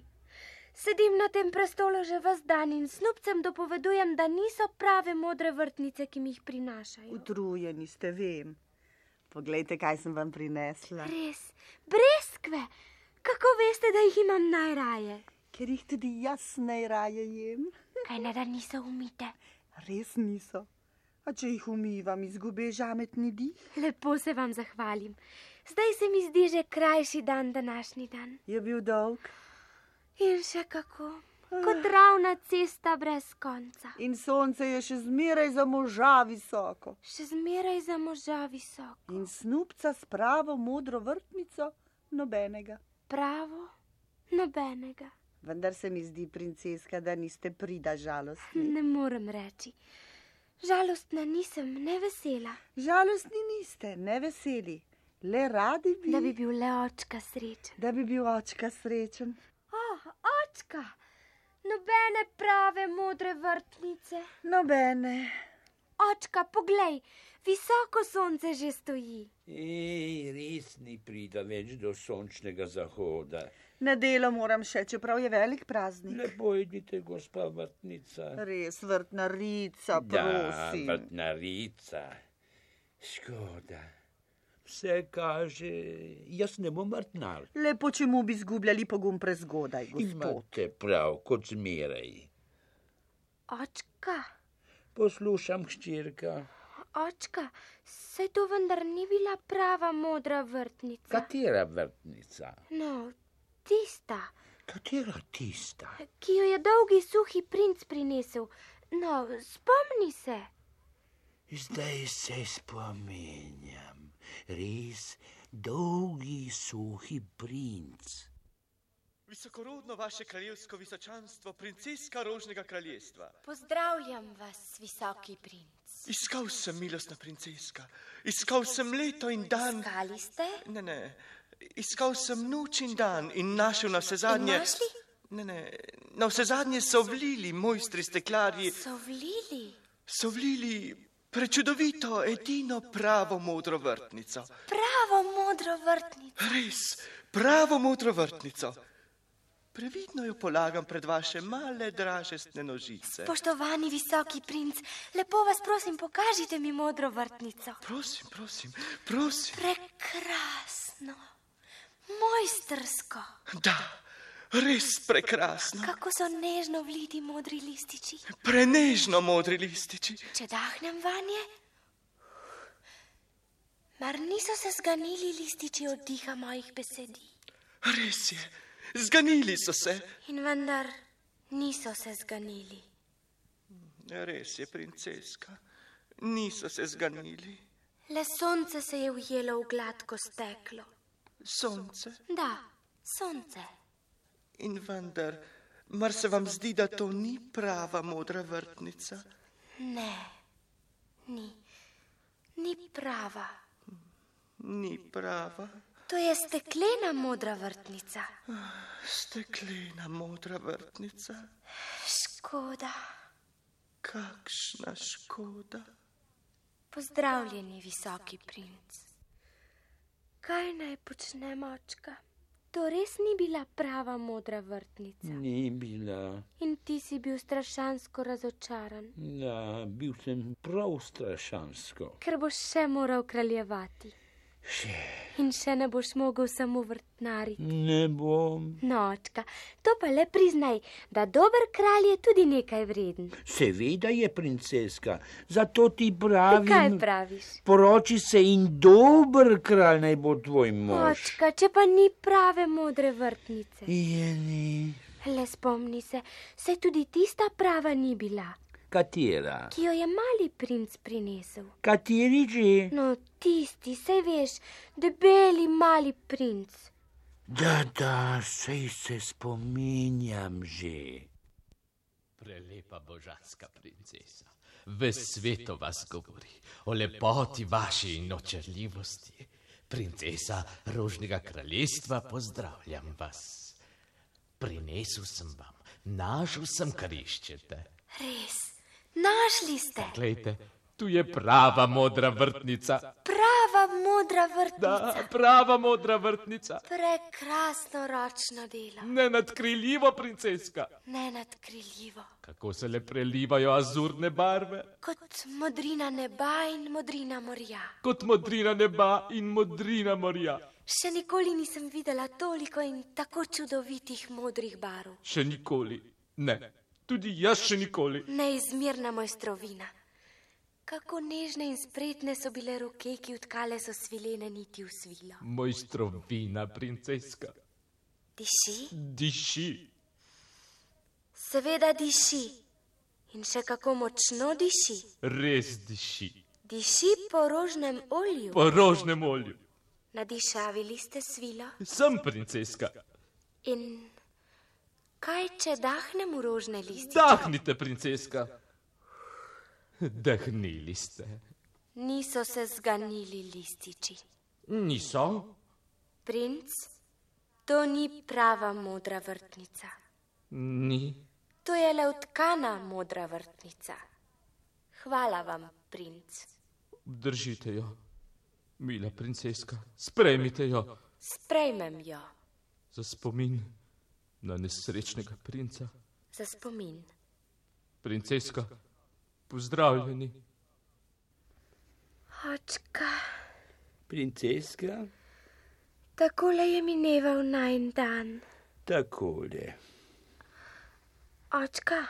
Speaker 5: Sedim na tem prestolu že vas dan in snupcem dopovedujem, da niso prave modre vrtnice, ki mi jih prinašajo.
Speaker 7: Utrujeni ste, vem. Poglejte, kaj sem vam prinesla.
Speaker 5: Res, breskve, kako veste, da jih imam najraje?
Speaker 7: Ker jih tudi jaz najraje jem.
Speaker 5: Kaj ne, da niso umite.
Speaker 7: Res niso. A če jih umivam, izgube žametni dih.
Speaker 5: Lepo se vam zahvalim. Zdaj se mi zdi že krajši dan, današnji dan.
Speaker 7: Je bil dolg
Speaker 5: In še kako, kot ravna cesta brez konca.
Speaker 7: in sonce je še zmeraj za moža visoko.
Speaker 5: Še zmeraj za moža visoko.
Speaker 7: In snupca s pravo modro vrtnico, nobenega.
Speaker 5: Pravo, nobenega.
Speaker 7: Vendar se mi zdi, princeska, da niste prida žalostni.
Speaker 5: Ne morem reči. Žalostna nisem, ne vesela,
Speaker 7: Žalostni niste, ne veseli, le radi bi,
Speaker 5: da bi bil le očka srečen.
Speaker 7: da bi bil očka srečen.
Speaker 5: Oh, očka! Nobene prave modre vrtnice.
Speaker 7: Nobene.
Speaker 5: Očka, poglej, visoko sonce že stoji.
Speaker 6: Ej, res ni prida več do sončnega zahoda.
Speaker 7: Na delo moram še, čeprav je velik praznik.
Speaker 6: Lepo idite, gospa vrtnica.
Speaker 7: Res
Speaker 6: Ja,
Speaker 7: vrtnarica,
Speaker 6: Da,
Speaker 7: prosim.
Speaker 6: vrtnarica. Škoda. Vse kaže, jaz ne bom vrtnar.
Speaker 7: Lepo, če mu bi izgubljali pogum prezgodaj, gospod.
Speaker 6: Imate prav, kot zmeraj.
Speaker 5: Očka,
Speaker 6: Poslušam, hčerka.
Speaker 5: očka, saj to vendar ni bila prava modra vrtnica.
Speaker 6: Katera vrtnica?
Speaker 5: No, tista,
Speaker 6: Katera tista?
Speaker 5: ki jo je dolgi suhi princ prinesel. No, spomni se.
Speaker 6: Zdaj se spominjam, res dolgi suhi princ.
Speaker 9: Visokorodno vaše kraljevsko visočanstvo, princeska rožnega kraljestva.
Speaker 2: Pozdravljam vas, visoki princ.
Speaker 9: Iskal sem milostna princeska, iskal sem leto in dan.
Speaker 2: Kali ste?
Speaker 9: Ne, ne, iskal sem noč in dan in našel na vse zadnje.
Speaker 2: In našli?
Speaker 9: Ne, ne, na vse zadnje so vlili mojstri steklarji,
Speaker 2: So vlili
Speaker 9: so vlili prečudovito, edino pravo modro vrtnico.
Speaker 2: pravo modro vrtnico.
Speaker 9: Res, pravo modro vrtnico. Previdno jo polagam pred vaše male dražestne nožice.
Speaker 2: Poštovani visoki princ, lepo vas prosim, pokažite mi modro vrtnico.
Speaker 9: Prosim, prosim, prosim.
Speaker 2: Prekrasno, mojstrsko,
Speaker 9: Da, res prekrasno.
Speaker 2: kako so nežno vliti modri lističi.
Speaker 9: Prenežno modri lističi.
Speaker 2: Če dahnem vanje, mar niso se zganili lističi od diha mojih besedi.
Speaker 9: Res je, zganili so se.
Speaker 2: In vendar niso se zganili.
Speaker 9: Res je, princeska. Niso se zganili.
Speaker 5: Le sonce se je ujelo v gladko steklo.
Speaker 9: Sonce.
Speaker 5: Da, sonce.
Speaker 9: In vendar, mar se vam zdi, da to ni prava modra vrtnica?
Speaker 5: Ne, ni, ni prava.
Speaker 9: Ni prava.
Speaker 5: To je steklena modra vrtnica.
Speaker 9: Steklena modra vrtnica.
Speaker 5: Škoda.
Speaker 9: Kakšna škoda.
Speaker 5: Pozdravljeni, visoki princ. Kaj naj počnem, očka? To res ni bila prava modra vrtnica.
Speaker 6: Ni bila.
Speaker 5: In ti si bil strašansko razočaran,
Speaker 6: Ja, bil sem prav strašansko.
Speaker 5: ker boš še moral kraljevati.
Speaker 6: Še
Speaker 5: In še ne boš mogel samo vrtnari.
Speaker 6: ne bom.
Speaker 5: Nočka, to pa le priznaj, da dober kralj je tudi nekaj vreden.
Speaker 6: Seveda je princeska, zato ti
Speaker 5: Kaj
Speaker 6: pravim.
Speaker 5: praviš?
Speaker 6: Poroči se in dober kralj naj bo tvoj mož.
Speaker 5: Očka, če pa ni prave modre vrtnice.
Speaker 6: Je ni.
Speaker 5: Le spomni se, saj tudi tista prava ni bila,
Speaker 6: Katera?
Speaker 5: ki jo je mali princ prinesel.
Speaker 6: Kateri že?
Speaker 5: No, tisti, saj veš, debeli mali princ.
Speaker 6: Da, da, sej se spominjam že.
Speaker 4: Prelep
Speaker 10: lijepa božanska princesa. Ves svet o vas govori, o lepoti vaši in očarljivosti. Princesa Rožnega kraljestva, pozdravljam vas. Prinesel sem vam, našel sem, kar iščete.
Speaker 5: Res, našli ste.
Speaker 10: Glejte, tu je prava modra vrtnica.
Speaker 5: Prava modra vrtnica.
Speaker 10: Da, prava modra vrtnica.
Speaker 5: Prekrasno ročno delo.
Speaker 10: Nenadkriljivo princeska.
Speaker 5: Nenadkriljivo.
Speaker 10: Kako se le prelivajo azurne barve,
Speaker 5: Kot modrina neba in modrina morja.
Speaker 10: kot modrina neba in modrina morja.
Speaker 5: Še nikoli nisem videla toliko in tako čudovitih modrih barv.
Speaker 10: Še nikoli, ne, tudi jaz še nikoli.
Speaker 5: Neizmerna mojstrovina. Kako nežne in spretne so bile roke, ki utkale so svilene niti v svilo.
Speaker 10: Mojstrovina princeska,
Speaker 5: Diši?
Speaker 10: diši,
Speaker 5: Seveda diši. In še kako močno diši.
Speaker 10: res diši,
Speaker 5: Diši po rožnem olju.
Speaker 10: po rožnem olju.
Speaker 5: Nadišavili ste svilo
Speaker 10: Sem princeska,
Speaker 5: in kaj, če dahnem v rožne liste?
Speaker 10: dahnite, princeska. Dahnili ste.
Speaker 5: Niso se zganili lističi.
Speaker 10: Niso,
Speaker 5: Princ, to ni prava modra vrtnica.
Speaker 10: ni,
Speaker 5: To je le utkana modra vrtnica. Hvala vam, princ.
Speaker 10: držite jo. Mila princeska, sprejmite jo
Speaker 5: Sprejmem jo
Speaker 10: za spomin na nesrečnega princa.
Speaker 5: za spomin.
Speaker 10: Princeska, pozdravljeni.
Speaker 5: Očka,
Speaker 6: Princeska,
Speaker 5: takole je mineval najn dan.
Speaker 6: takole.
Speaker 5: Očka,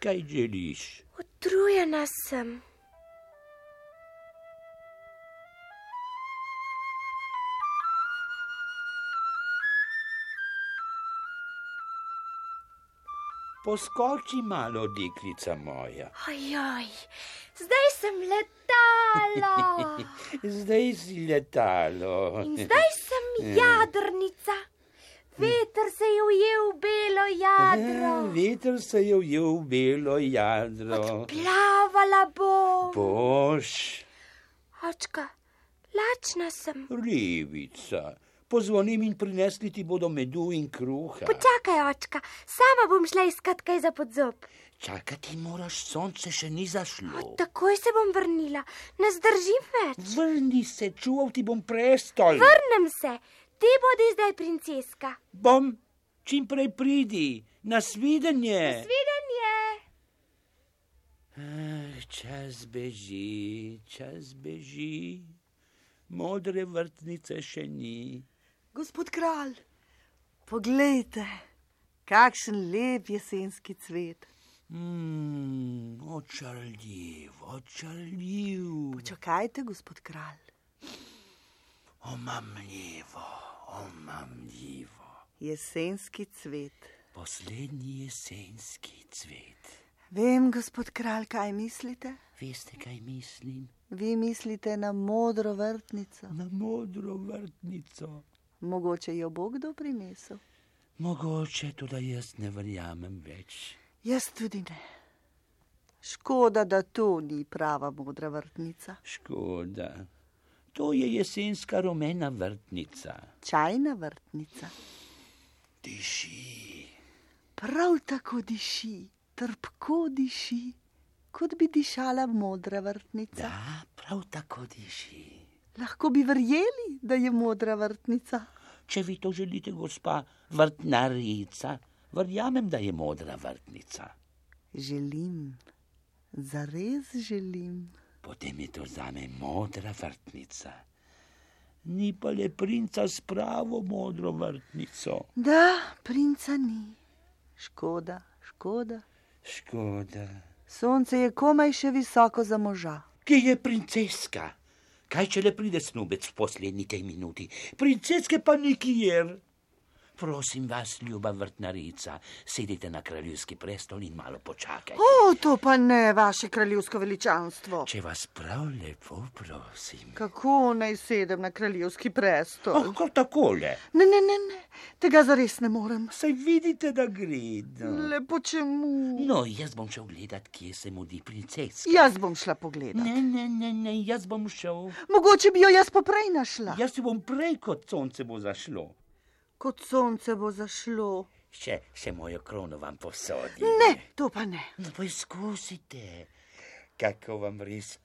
Speaker 6: Kaj želiš?
Speaker 5: utrujena sem.
Speaker 6: Poskoči malo, deklica moja.
Speaker 5: Ojoj, zdaj sem letalo
Speaker 6: Zdaj si letalo.
Speaker 5: in zdaj sem jadrnica. Veter se je ujel v belo jadro,
Speaker 6: Ja, Veter se je ujel v belo jadro.
Speaker 5: plavala bo.
Speaker 6: Boš,
Speaker 5: Očka, lačna sem.
Speaker 6: ribica. Pozvonim in prinesli ti bodo medu in kruha.
Speaker 5: Počakaj, očka, sama bom šla iskat kaj za podzob.
Speaker 6: Čakati moraš, sonce še ni zašlo.
Speaker 5: Takoj se bom vrnila, ne zdržim več.
Speaker 6: Vrni se, čuval ti bom prestol.
Speaker 5: Vrnem se, ti bodi zdaj princeska.
Speaker 6: Bom, čim prej pridi, nasvidenje.
Speaker 5: Videnje.
Speaker 6: Ah, čas beži, čas beži, modre vrtnice še ni.
Speaker 7: Gospod kralj, poglejte, kakšen lep jesenski cvet.
Speaker 6: Mm, očarljiv, očarljiv,
Speaker 7: Počakajte, gospod kralj.
Speaker 6: omamljivo, omamljivo.
Speaker 7: Jesenski cvet.
Speaker 6: Poslednji jesenski cvet.
Speaker 7: Vem, gospod kralj, kaj mislite?
Speaker 6: Veste, kaj mislim?
Speaker 7: Vi mislite na modro vrtnico.
Speaker 6: Na modro vrtnico.
Speaker 7: Mogoče jo bo kdo prinesel.
Speaker 6: Mogoče tudi jaz ne verjamem več.
Speaker 7: Jaz tudi ne. Škoda, da to ni prava modra vrtnica,
Speaker 6: Škoda. To je jesenska rumena vrtnica.
Speaker 7: čajna vrtnica.
Speaker 6: Tiši.
Speaker 7: Prav tako diši, trpko diši, kot bi dišala modra vrtnica. Da.
Speaker 6: Da, prav tako diši.
Speaker 7: Lahko bi verjeli, da je modra vrtnica.
Speaker 6: Če vi to želite, gospa vrtnarica, verjamem, da je modra vrtnica.
Speaker 7: Želim, zares želim.
Speaker 6: Potem je to zame modra vrtnica. Ni pa le princa s pravo modro vrtnico.
Speaker 7: Da, princa ni. Škoda, škoda.
Speaker 6: Škoda.
Speaker 7: Sonce je komaj še visoko za moža.
Speaker 6: Kje je princeska? Kaj če le pride snubec v poslednji tej minuti? Princeske pa nikjer.
Speaker 11: Prosim vas, ljuba vrtnarica, sedite na kraljevski prestol in malo počakajte.
Speaker 7: O, to pa ne, vaše kraljevsko veličanstvo.
Speaker 11: Če vas prav lepo prosim.
Speaker 7: Kako naj sedem na kraljevski prestol?
Speaker 11: Oh, kar takole.
Speaker 7: Ne, ne, ne, ne, tega zares ne morem.
Speaker 11: Saj vidite, da gredem.
Speaker 7: Lepo Ja. čemu?
Speaker 11: No, jaz bom šel gledat, kje se mudi princeska.
Speaker 7: Jaz bom šla pogledat.
Speaker 11: Ja, Ne, ne, ne, ne, jaz bom šel.
Speaker 7: Mogoče bi jo jaz poprej našla.
Speaker 11: Jaz jo bom prej, kot sonce bo zašlo.
Speaker 7: Kot sonce bo zašlo.
Speaker 11: Še, še mojo krono vam posodim.
Speaker 7: Ne, to pa ne.
Speaker 11: No, poizkusite, kako vam res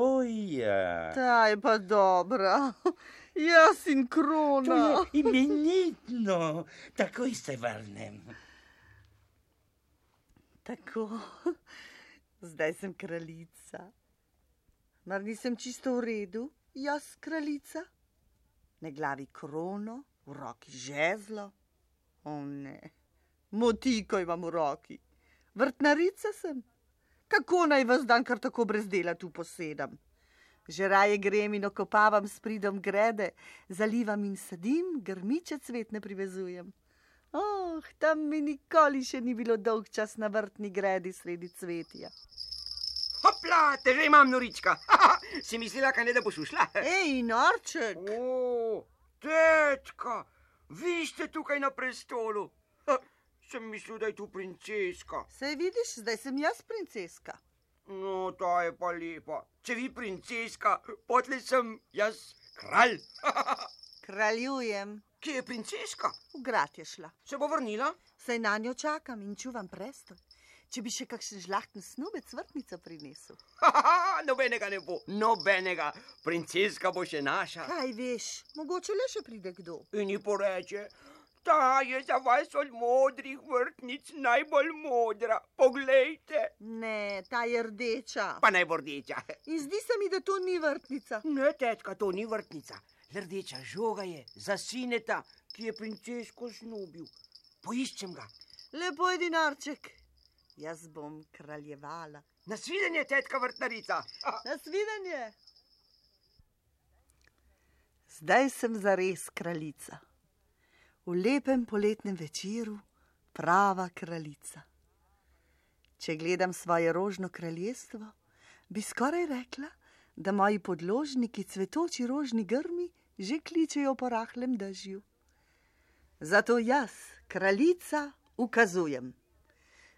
Speaker 11: pristoja.
Speaker 7: Ta je pa dobra. Jaz in
Speaker 11: To
Speaker 7: krona.
Speaker 11: je imenitno, takoj se vrnem.
Speaker 7: Tako, zdaj sem kraljica. Mar nisem čisto v redu, jaz kraljica? Na glavi krono, v roki žezlo. O ne, motiko imam v roki. Vrtnarica sem. Kako naj vas dan kar tako brez dela tu posedam? Že raje grem in okopavam s pridom grede, zalivam in sadim, grmiče cvetne privezujem. Oh, tam mi nikoli še ni bilo dolg čas na vrtni gredi sredi cvetja.
Speaker 3: Hopla, te že imam norička. si mislila, kaj ne, da boš ušla?
Speaker 7: Ej, norček.
Speaker 3: O, tetka, vi ste tukaj na prestolu. Ha, sem mislil, da je tu princeska.
Speaker 7: Sej vidiš, zdaj sem jaz princeska.
Speaker 3: No, ta je pa lepa. Če vi princeska, potlej sem jaz kralj.
Speaker 7: Kraljujem.
Speaker 3: Kje je princeska?
Speaker 7: V grad je šla.
Speaker 3: Se bo vrnila?
Speaker 7: Saj na njo čakam in čuvam prestol. Če bi še kakšen žlahten snubec vrtnico prinesel.
Speaker 3: Nobenega ne bo, nobenega. Princeska bo še naša.
Speaker 7: Kaj veš, mogoče le še pride kdo.
Speaker 3: In ji poreče, ta je za vas od modrih vrtnic najbolj modra. Poglejte,
Speaker 7: Ne, ta je rdeča.
Speaker 3: pa naj bo rdeča.
Speaker 7: In zdi se mi, da to ni vrtnica.
Speaker 3: Ne, tetka, to ni vrtnica. Le Rdeča žoga je za sineta, ki je princesko snubil. Poiščem ga.
Speaker 7: Lepo je dinarček. Jaz bom kraljevala.
Speaker 3: Nasvidenje, tetka vrtnarica.
Speaker 7: Nasvidenje. Zdaj sem zares kraljica. V lepem poletnem večeru prava kraljica. Če gledam svoje rožno kraljestvo, bi skoraj rekla, da moji podložniki cvetoči rožni grmi že kličejo po rahlem dežju. Zato jaz, kraljica, ukazujem.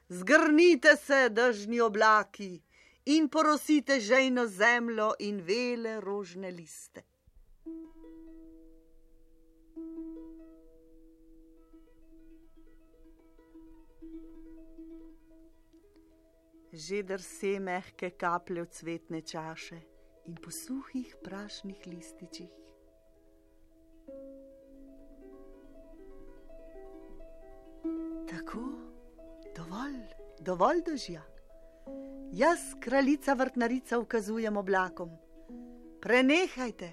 Speaker 7: Zgrnite se, dežni oblaki, in porosite žejno zemljo in vele rožne liste. Že drse mehke kaplje v cvetne čaše in po suhih prašnih lističih. Tako, dovolj, dovolj dožja. Jaz, kraljica vrtnarica, ukazujem oblakom: Prenehajte,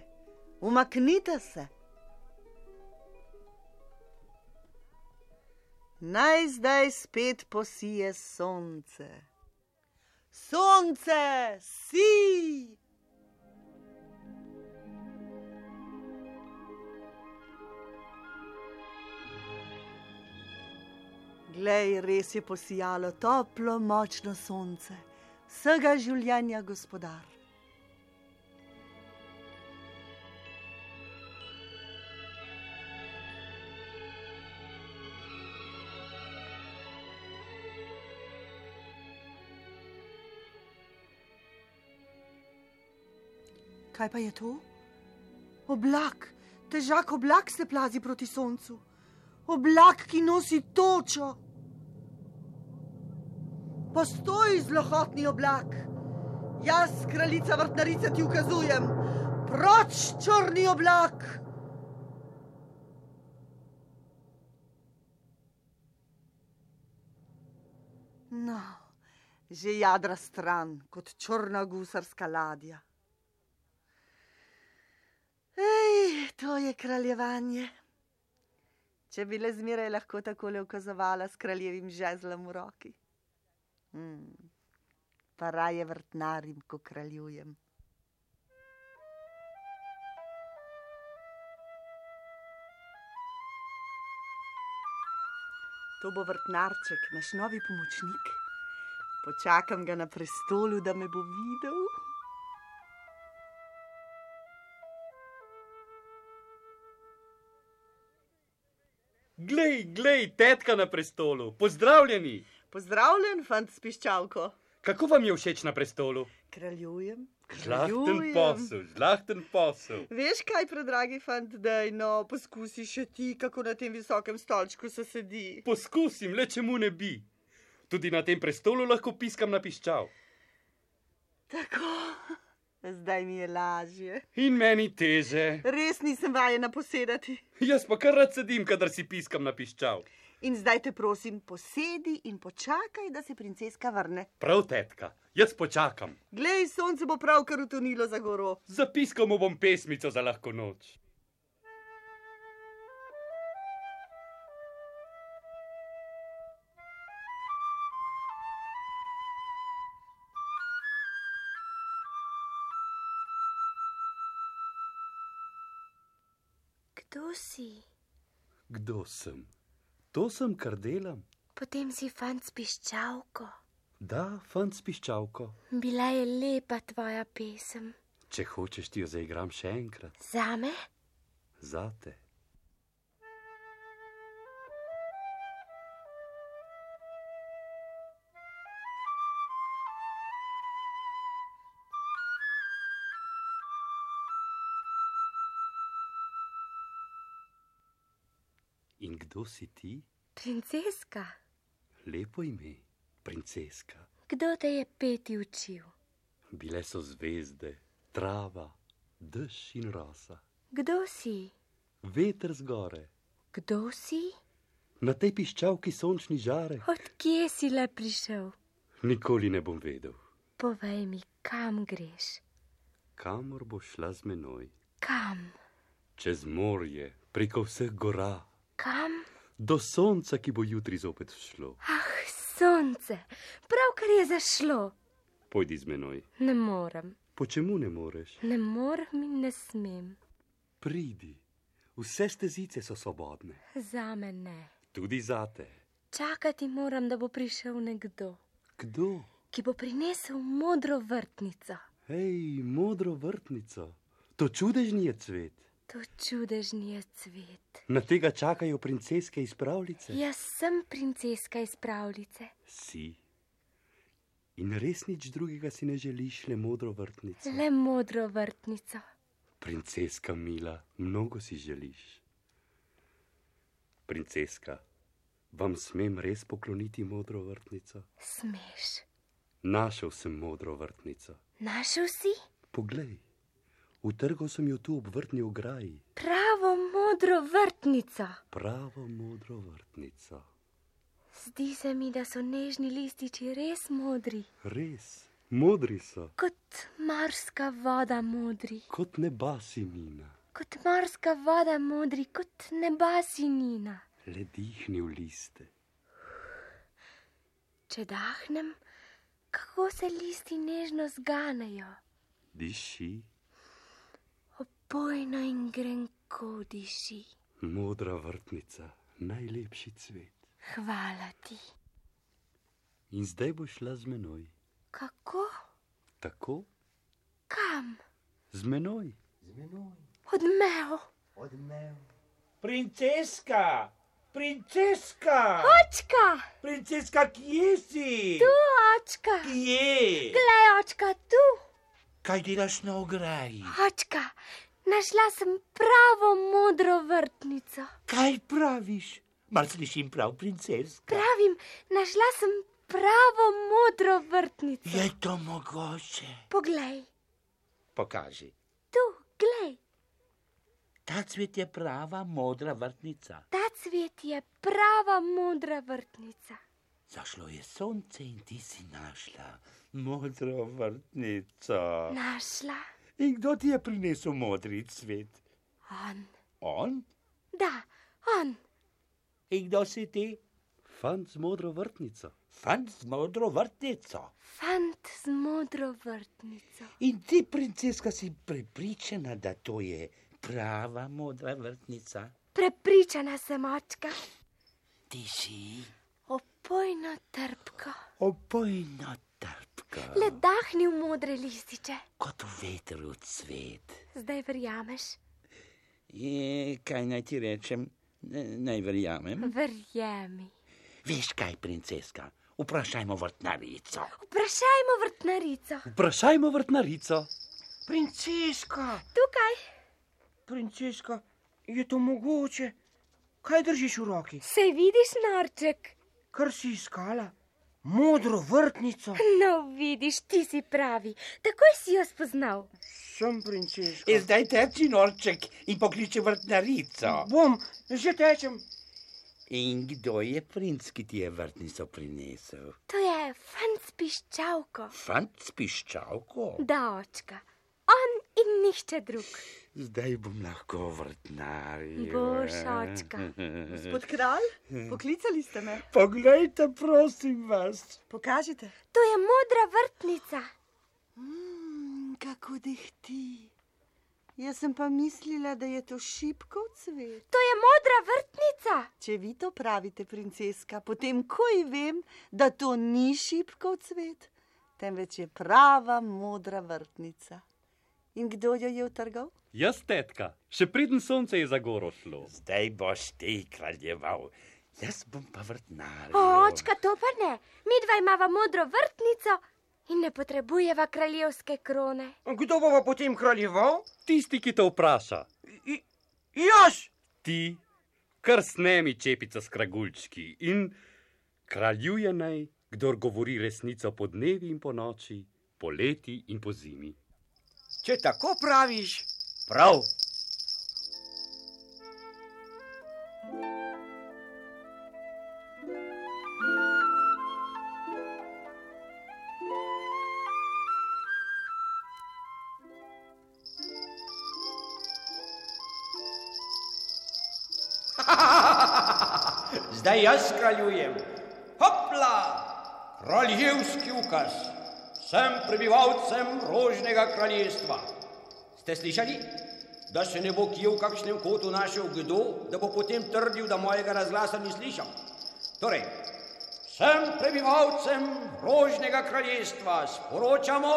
Speaker 7: umaknite se. Naj zdaj spet posije sonce. Sonce, si! Glej, res je posijalo toplo, močno sonce, vsega življenja gospodar. Kaj pa je to? Oblak, težak oblak se plazi proti soncu. Oblak, ki nosi točo. Postoj, zlohotni oblak. Jaz, kraljica vrtnarica, ti ukazujem, proč črni oblak. No, že jadra stran kot črna gusarska ladja. Ej, to je kraljevanje. Če bi le zmeraj lahko takole ukazovala s kraljevim žezlom v roki. Hmm. Pa raje vrtnarim, ko kraljujem. To bo vrtnarček, naš novi pomočnik. Počakam ga na prestolu, da me bo videl.
Speaker 4: Glej, glej, tetka na prestolu, pozdravljeni.
Speaker 7: Pozdravljen, fant s piščalko.
Speaker 4: Kako vam je všeč na prestolu?
Speaker 7: Kraljujem.
Speaker 4: Žlahten
Speaker 7: kraljujem.
Speaker 4: posel, žlahten posel.
Speaker 7: Veš kaj, predragi fant, da no, poskusi še ti, kako na tem visokem stolčku se sedi.
Speaker 4: Poskusim, le čemu ne bi. Tudi na tem prestolu lahko piskam na piščal.
Speaker 7: Tako, zdaj mi je lažje.
Speaker 4: In meni teže.
Speaker 7: Res nisem vajena posedati.
Speaker 4: Jaz pa kar rad sedim, kadar si piskam na piščal.
Speaker 7: In zdaj te prosim, posedi in počakaj, da se princeska vrne.
Speaker 4: Prav, tetka, jaz počakam.
Speaker 7: Glej, sonce bo pravkar utonilo za goro.
Speaker 4: Zapiskal mu bom pesmico za lahko noč.
Speaker 5: Kdo si?
Speaker 4: Kdo sem? To sem, kar delam.
Speaker 5: Potem si fant s piščalko.
Speaker 4: Da, fant s piščalko.
Speaker 5: Bila je lepa tvoja pesem.
Speaker 4: Če hočeš, ti jo zaigram še enkrat.
Speaker 5: Zame?
Speaker 4: Zate. In kdo si ti?
Speaker 5: Princeska.
Speaker 4: Lepo ime, princeska.
Speaker 5: Kdo te je peti učil?
Speaker 4: Bile so zvezde, trava, dež in rosa,
Speaker 5: Kdo si?
Speaker 4: veter z gore,
Speaker 5: Kdo si?
Speaker 4: na tej piščalki sončni žarek.
Speaker 5: Odkje si le prišel?
Speaker 4: Nikoli ne bom vedel,
Speaker 5: Povej mi, kam greš?
Speaker 4: kamor bo šla z menoj.
Speaker 5: Kam?
Speaker 4: Čez morje, preko vseh gora,
Speaker 5: Kam?
Speaker 4: do sonca, ki bo jutri zopet šlo.
Speaker 5: Ah, sonce, pravkar je zašlo.
Speaker 4: Pojdi z menoj.
Speaker 5: Ne morem,
Speaker 4: Po čemu ne moreš?
Speaker 5: ne morem in ne smem.
Speaker 4: Pridi, vse stezice so svobodne,
Speaker 5: Za me ne.
Speaker 4: tudi zate.
Speaker 5: Čakati moram, da bo prišel nekdo,
Speaker 4: Kdo?
Speaker 5: ki bo prinesel modro vrtnico.
Speaker 4: Hej, modro vrtnico, to čudežni je cvet.
Speaker 5: To čudežni je cvet.
Speaker 4: Na tega čakajo princeske iz pravljice.
Speaker 5: Jaz sem princeska iz pravljice.
Speaker 4: Si. In res nič drugega si ne želiš, le modro vrtnico.
Speaker 5: Le modro vrtnico.
Speaker 4: Princeska Mila, mnogo si želiš. Princeska, vam smem res pokloniti modro vrtnico?
Speaker 5: Smeš.
Speaker 4: Našel sem modro vrtnico.
Speaker 5: Našel si
Speaker 4: Poglej, utrgal sem jo tu ob vrtni ograji,
Speaker 5: pravo modro vrtnico.
Speaker 4: pravo modro vrtnico.
Speaker 5: Zdi se mi, da so nežni lističi res modri,
Speaker 4: Res, modri so,
Speaker 5: kot morska voda modri,
Speaker 4: kot neba sinina.
Speaker 5: kot morska voda modri, kot neba sinina.
Speaker 4: Le dihni v liste.
Speaker 5: Če dahnem, kako se listi nežno zganejo,
Speaker 4: Diši,
Speaker 5: opojno in grenko diši.
Speaker 4: modra vrtnica, najlepši cvet.
Speaker 5: Hvala ti.
Speaker 4: In zdaj bo šla z menoj.
Speaker 5: Kako?
Speaker 4: Tako,
Speaker 5: Kam?
Speaker 4: z menoj.
Speaker 5: Odmev.
Speaker 6: Princeska, princeska,
Speaker 5: Očka!
Speaker 6: princeska, kje si?
Speaker 5: Tu, očka!
Speaker 6: Kje?
Speaker 5: Glej, očka, tu!
Speaker 6: Kaj delaš na ograji?
Speaker 5: Očka, našla sem pravo modro vrtnico.
Speaker 6: Kaj praviš? Mar slišim prav, princeska.
Speaker 5: Pravim, našla sem pravo modro vrtnico.
Speaker 6: Je to mogoče?
Speaker 5: Poglej,
Speaker 6: Pokaži.
Speaker 5: tu, glej,
Speaker 6: Ta cvet je prava modra vrtnica.
Speaker 5: ta cvet je prava modra vrtnica.
Speaker 6: Zašlo je sonce in ti si našla modro vrtnico.
Speaker 5: Našla
Speaker 6: In kdo ti je prinesel modri cvet?
Speaker 5: on.
Speaker 6: On?
Speaker 5: Da, on.
Speaker 6: In kdo si ti?
Speaker 4: Fant z modro vrtnico.
Speaker 6: Fant z modro vrtnico.
Speaker 5: Fant z modro vrtnico.
Speaker 6: In ti, princeska, si prepričana, da to je prava modra vrtnica.
Speaker 5: Prepričana sem, očka.
Speaker 6: Ti si?
Speaker 5: Opojno trpko.
Speaker 6: Opojno trpko.
Speaker 5: Le dahni v modre lističe.
Speaker 6: Kot veter v cvet.
Speaker 5: Zdaj verjameš?
Speaker 6: Je, kaj naj ti rečem? Ne- Naj
Speaker 5: Hm?
Speaker 6: verjamem.
Speaker 5: Verjemi.
Speaker 6: Veš kaj, princeska? Vprašajmo vrtnarico.
Speaker 5: Vprašajmo vrtnarico.
Speaker 6: Vprašajmo vrtnarico.
Speaker 12: Princeska,
Speaker 5: Tukaj
Speaker 12: princeska, je to mogoče? Kaj držiš v roki?
Speaker 5: se vidiš, norček.
Speaker 12: Kar si iskala? Modro vrtnico.
Speaker 5: No, vidiš, ti si pravi. Takoj si jo spoznal.
Speaker 12: Sem princeska.
Speaker 13: E zdaj teči norček in pokliče vrtnarico.
Speaker 12: Bom, že tečem.
Speaker 6: In kdo je princ, ki ti je vrtnico prinesel?
Speaker 5: To je fant s piščalko.
Speaker 6: Fant s piščalko.
Speaker 5: Da, očka. On in nihče drug.
Speaker 6: Zdaj bom lahko vrtnar.
Speaker 5: Boš, očka.
Speaker 7: Gospod kralj, poklicali ste me.
Speaker 13: Poglejte, prosim vas.
Speaker 7: Pokažite.
Speaker 5: To je modra vrtnica.
Speaker 7: Mm, kako dihti. Jaz sem pa mislila, da je to šipkov cvet.
Speaker 5: To je modra vrtnica.
Speaker 7: Če vi to pravite, princeska, potem koj vem, da to ni šipkov cvet, temveč je prava modra vrtnica. In kdo jo je utrgal?
Speaker 4: Jaz, tetka, še preden sonce je za goro šlo.
Speaker 6: Zdaj boš ti kraljeval, jaz bom pa vrtnar.
Speaker 5: O, očka, to pa ne. Midva imava modro vrtnico in ne potrebujeva kraljevske krone.
Speaker 12: Kdo bo pa potem kraljeval?
Speaker 4: Tisti, ki te vpraša,
Speaker 12: Jaz!
Speaker 4: ti, kar snemi čepico s kragulčki in kraljuje naj, kdor govori resnico po dnevi in po noči, poleti in po zimi.
Speaker 3: Če tako praviš, prav. Zdaj jaz kraljujem. Hopla! Kraljevski ukaz vsem prebivalcem rožnega kraljestva. Ste slišali, da se ne bo kje v kakšnem kotu našel kdo, da bo potem trdil, da mojega razglasa ni slišal? Torej, vsem prebivalcem rožnega kraljestva sporočamo,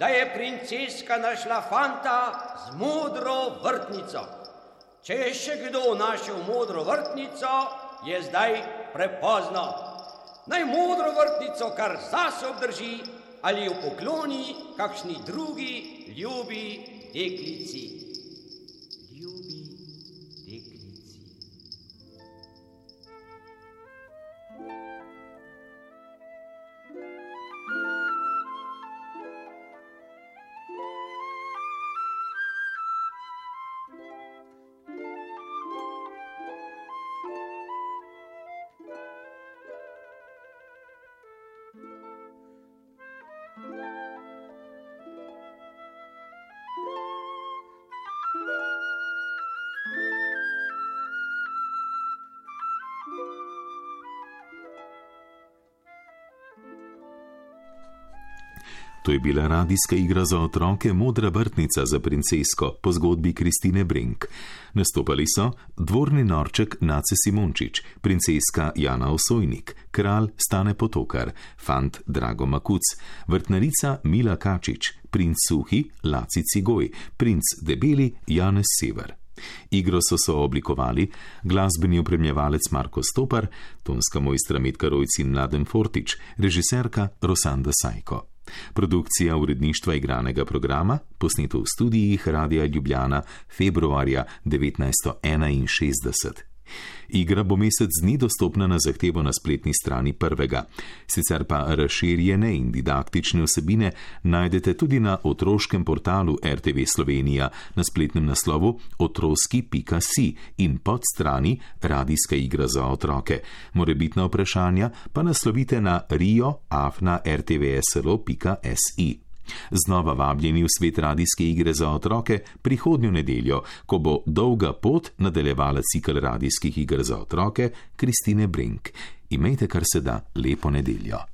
Speaker 3: da je princeska našla fanta z modro vrtnico. Če je še kdo našel modro vrtnico, je zdaj prepozno. Naj modro vrtnico kar zase obdrži ali jo pokloni kakšni drugi ljubi deklici. Ljubi deklici.
Speaker 1: To je bila radijska igra za otroke Modra vrtnica za princesko po zgodbi Kristine Brink. Nastopali so dvorni norček Nace Simončič, princeska Jana Osojnik, kralj Stane Potokar, fant Drago Makuc, vrtnarica Mila Kačič, princ Suhi Laci Cigoj, princ Debeli Janez Sever. Igro so sooblikovali glasbeni opremljevalec Marko Stopar, tonska mojstra Metka Rojc in Mladen Fortič, režiserka Rosanda Sajko. Produkcija uredništva igranega programa, posneto v studijih Radia Ljubljana februarja 1961. Igra bo mesec dni dostopna na zahtevo na spletni strani prvega, sicer pa razširjene in didaktične vsebine najdete tudi na otroškem portalu RTV Slovenija na spletnem naslovu otroski.si in pod strani Radijska igra za otroke. Morebitna vprašanja pa naslovite na rioafna.rtvslo.si. Znova vabljeni v svet radijske igre za otroke prihodnjo nedeljo, ko bo dolga pot nadaljevala cikl radijskih iger za otroke Kristine Brink. Imejte kar se da lepo nedeljo.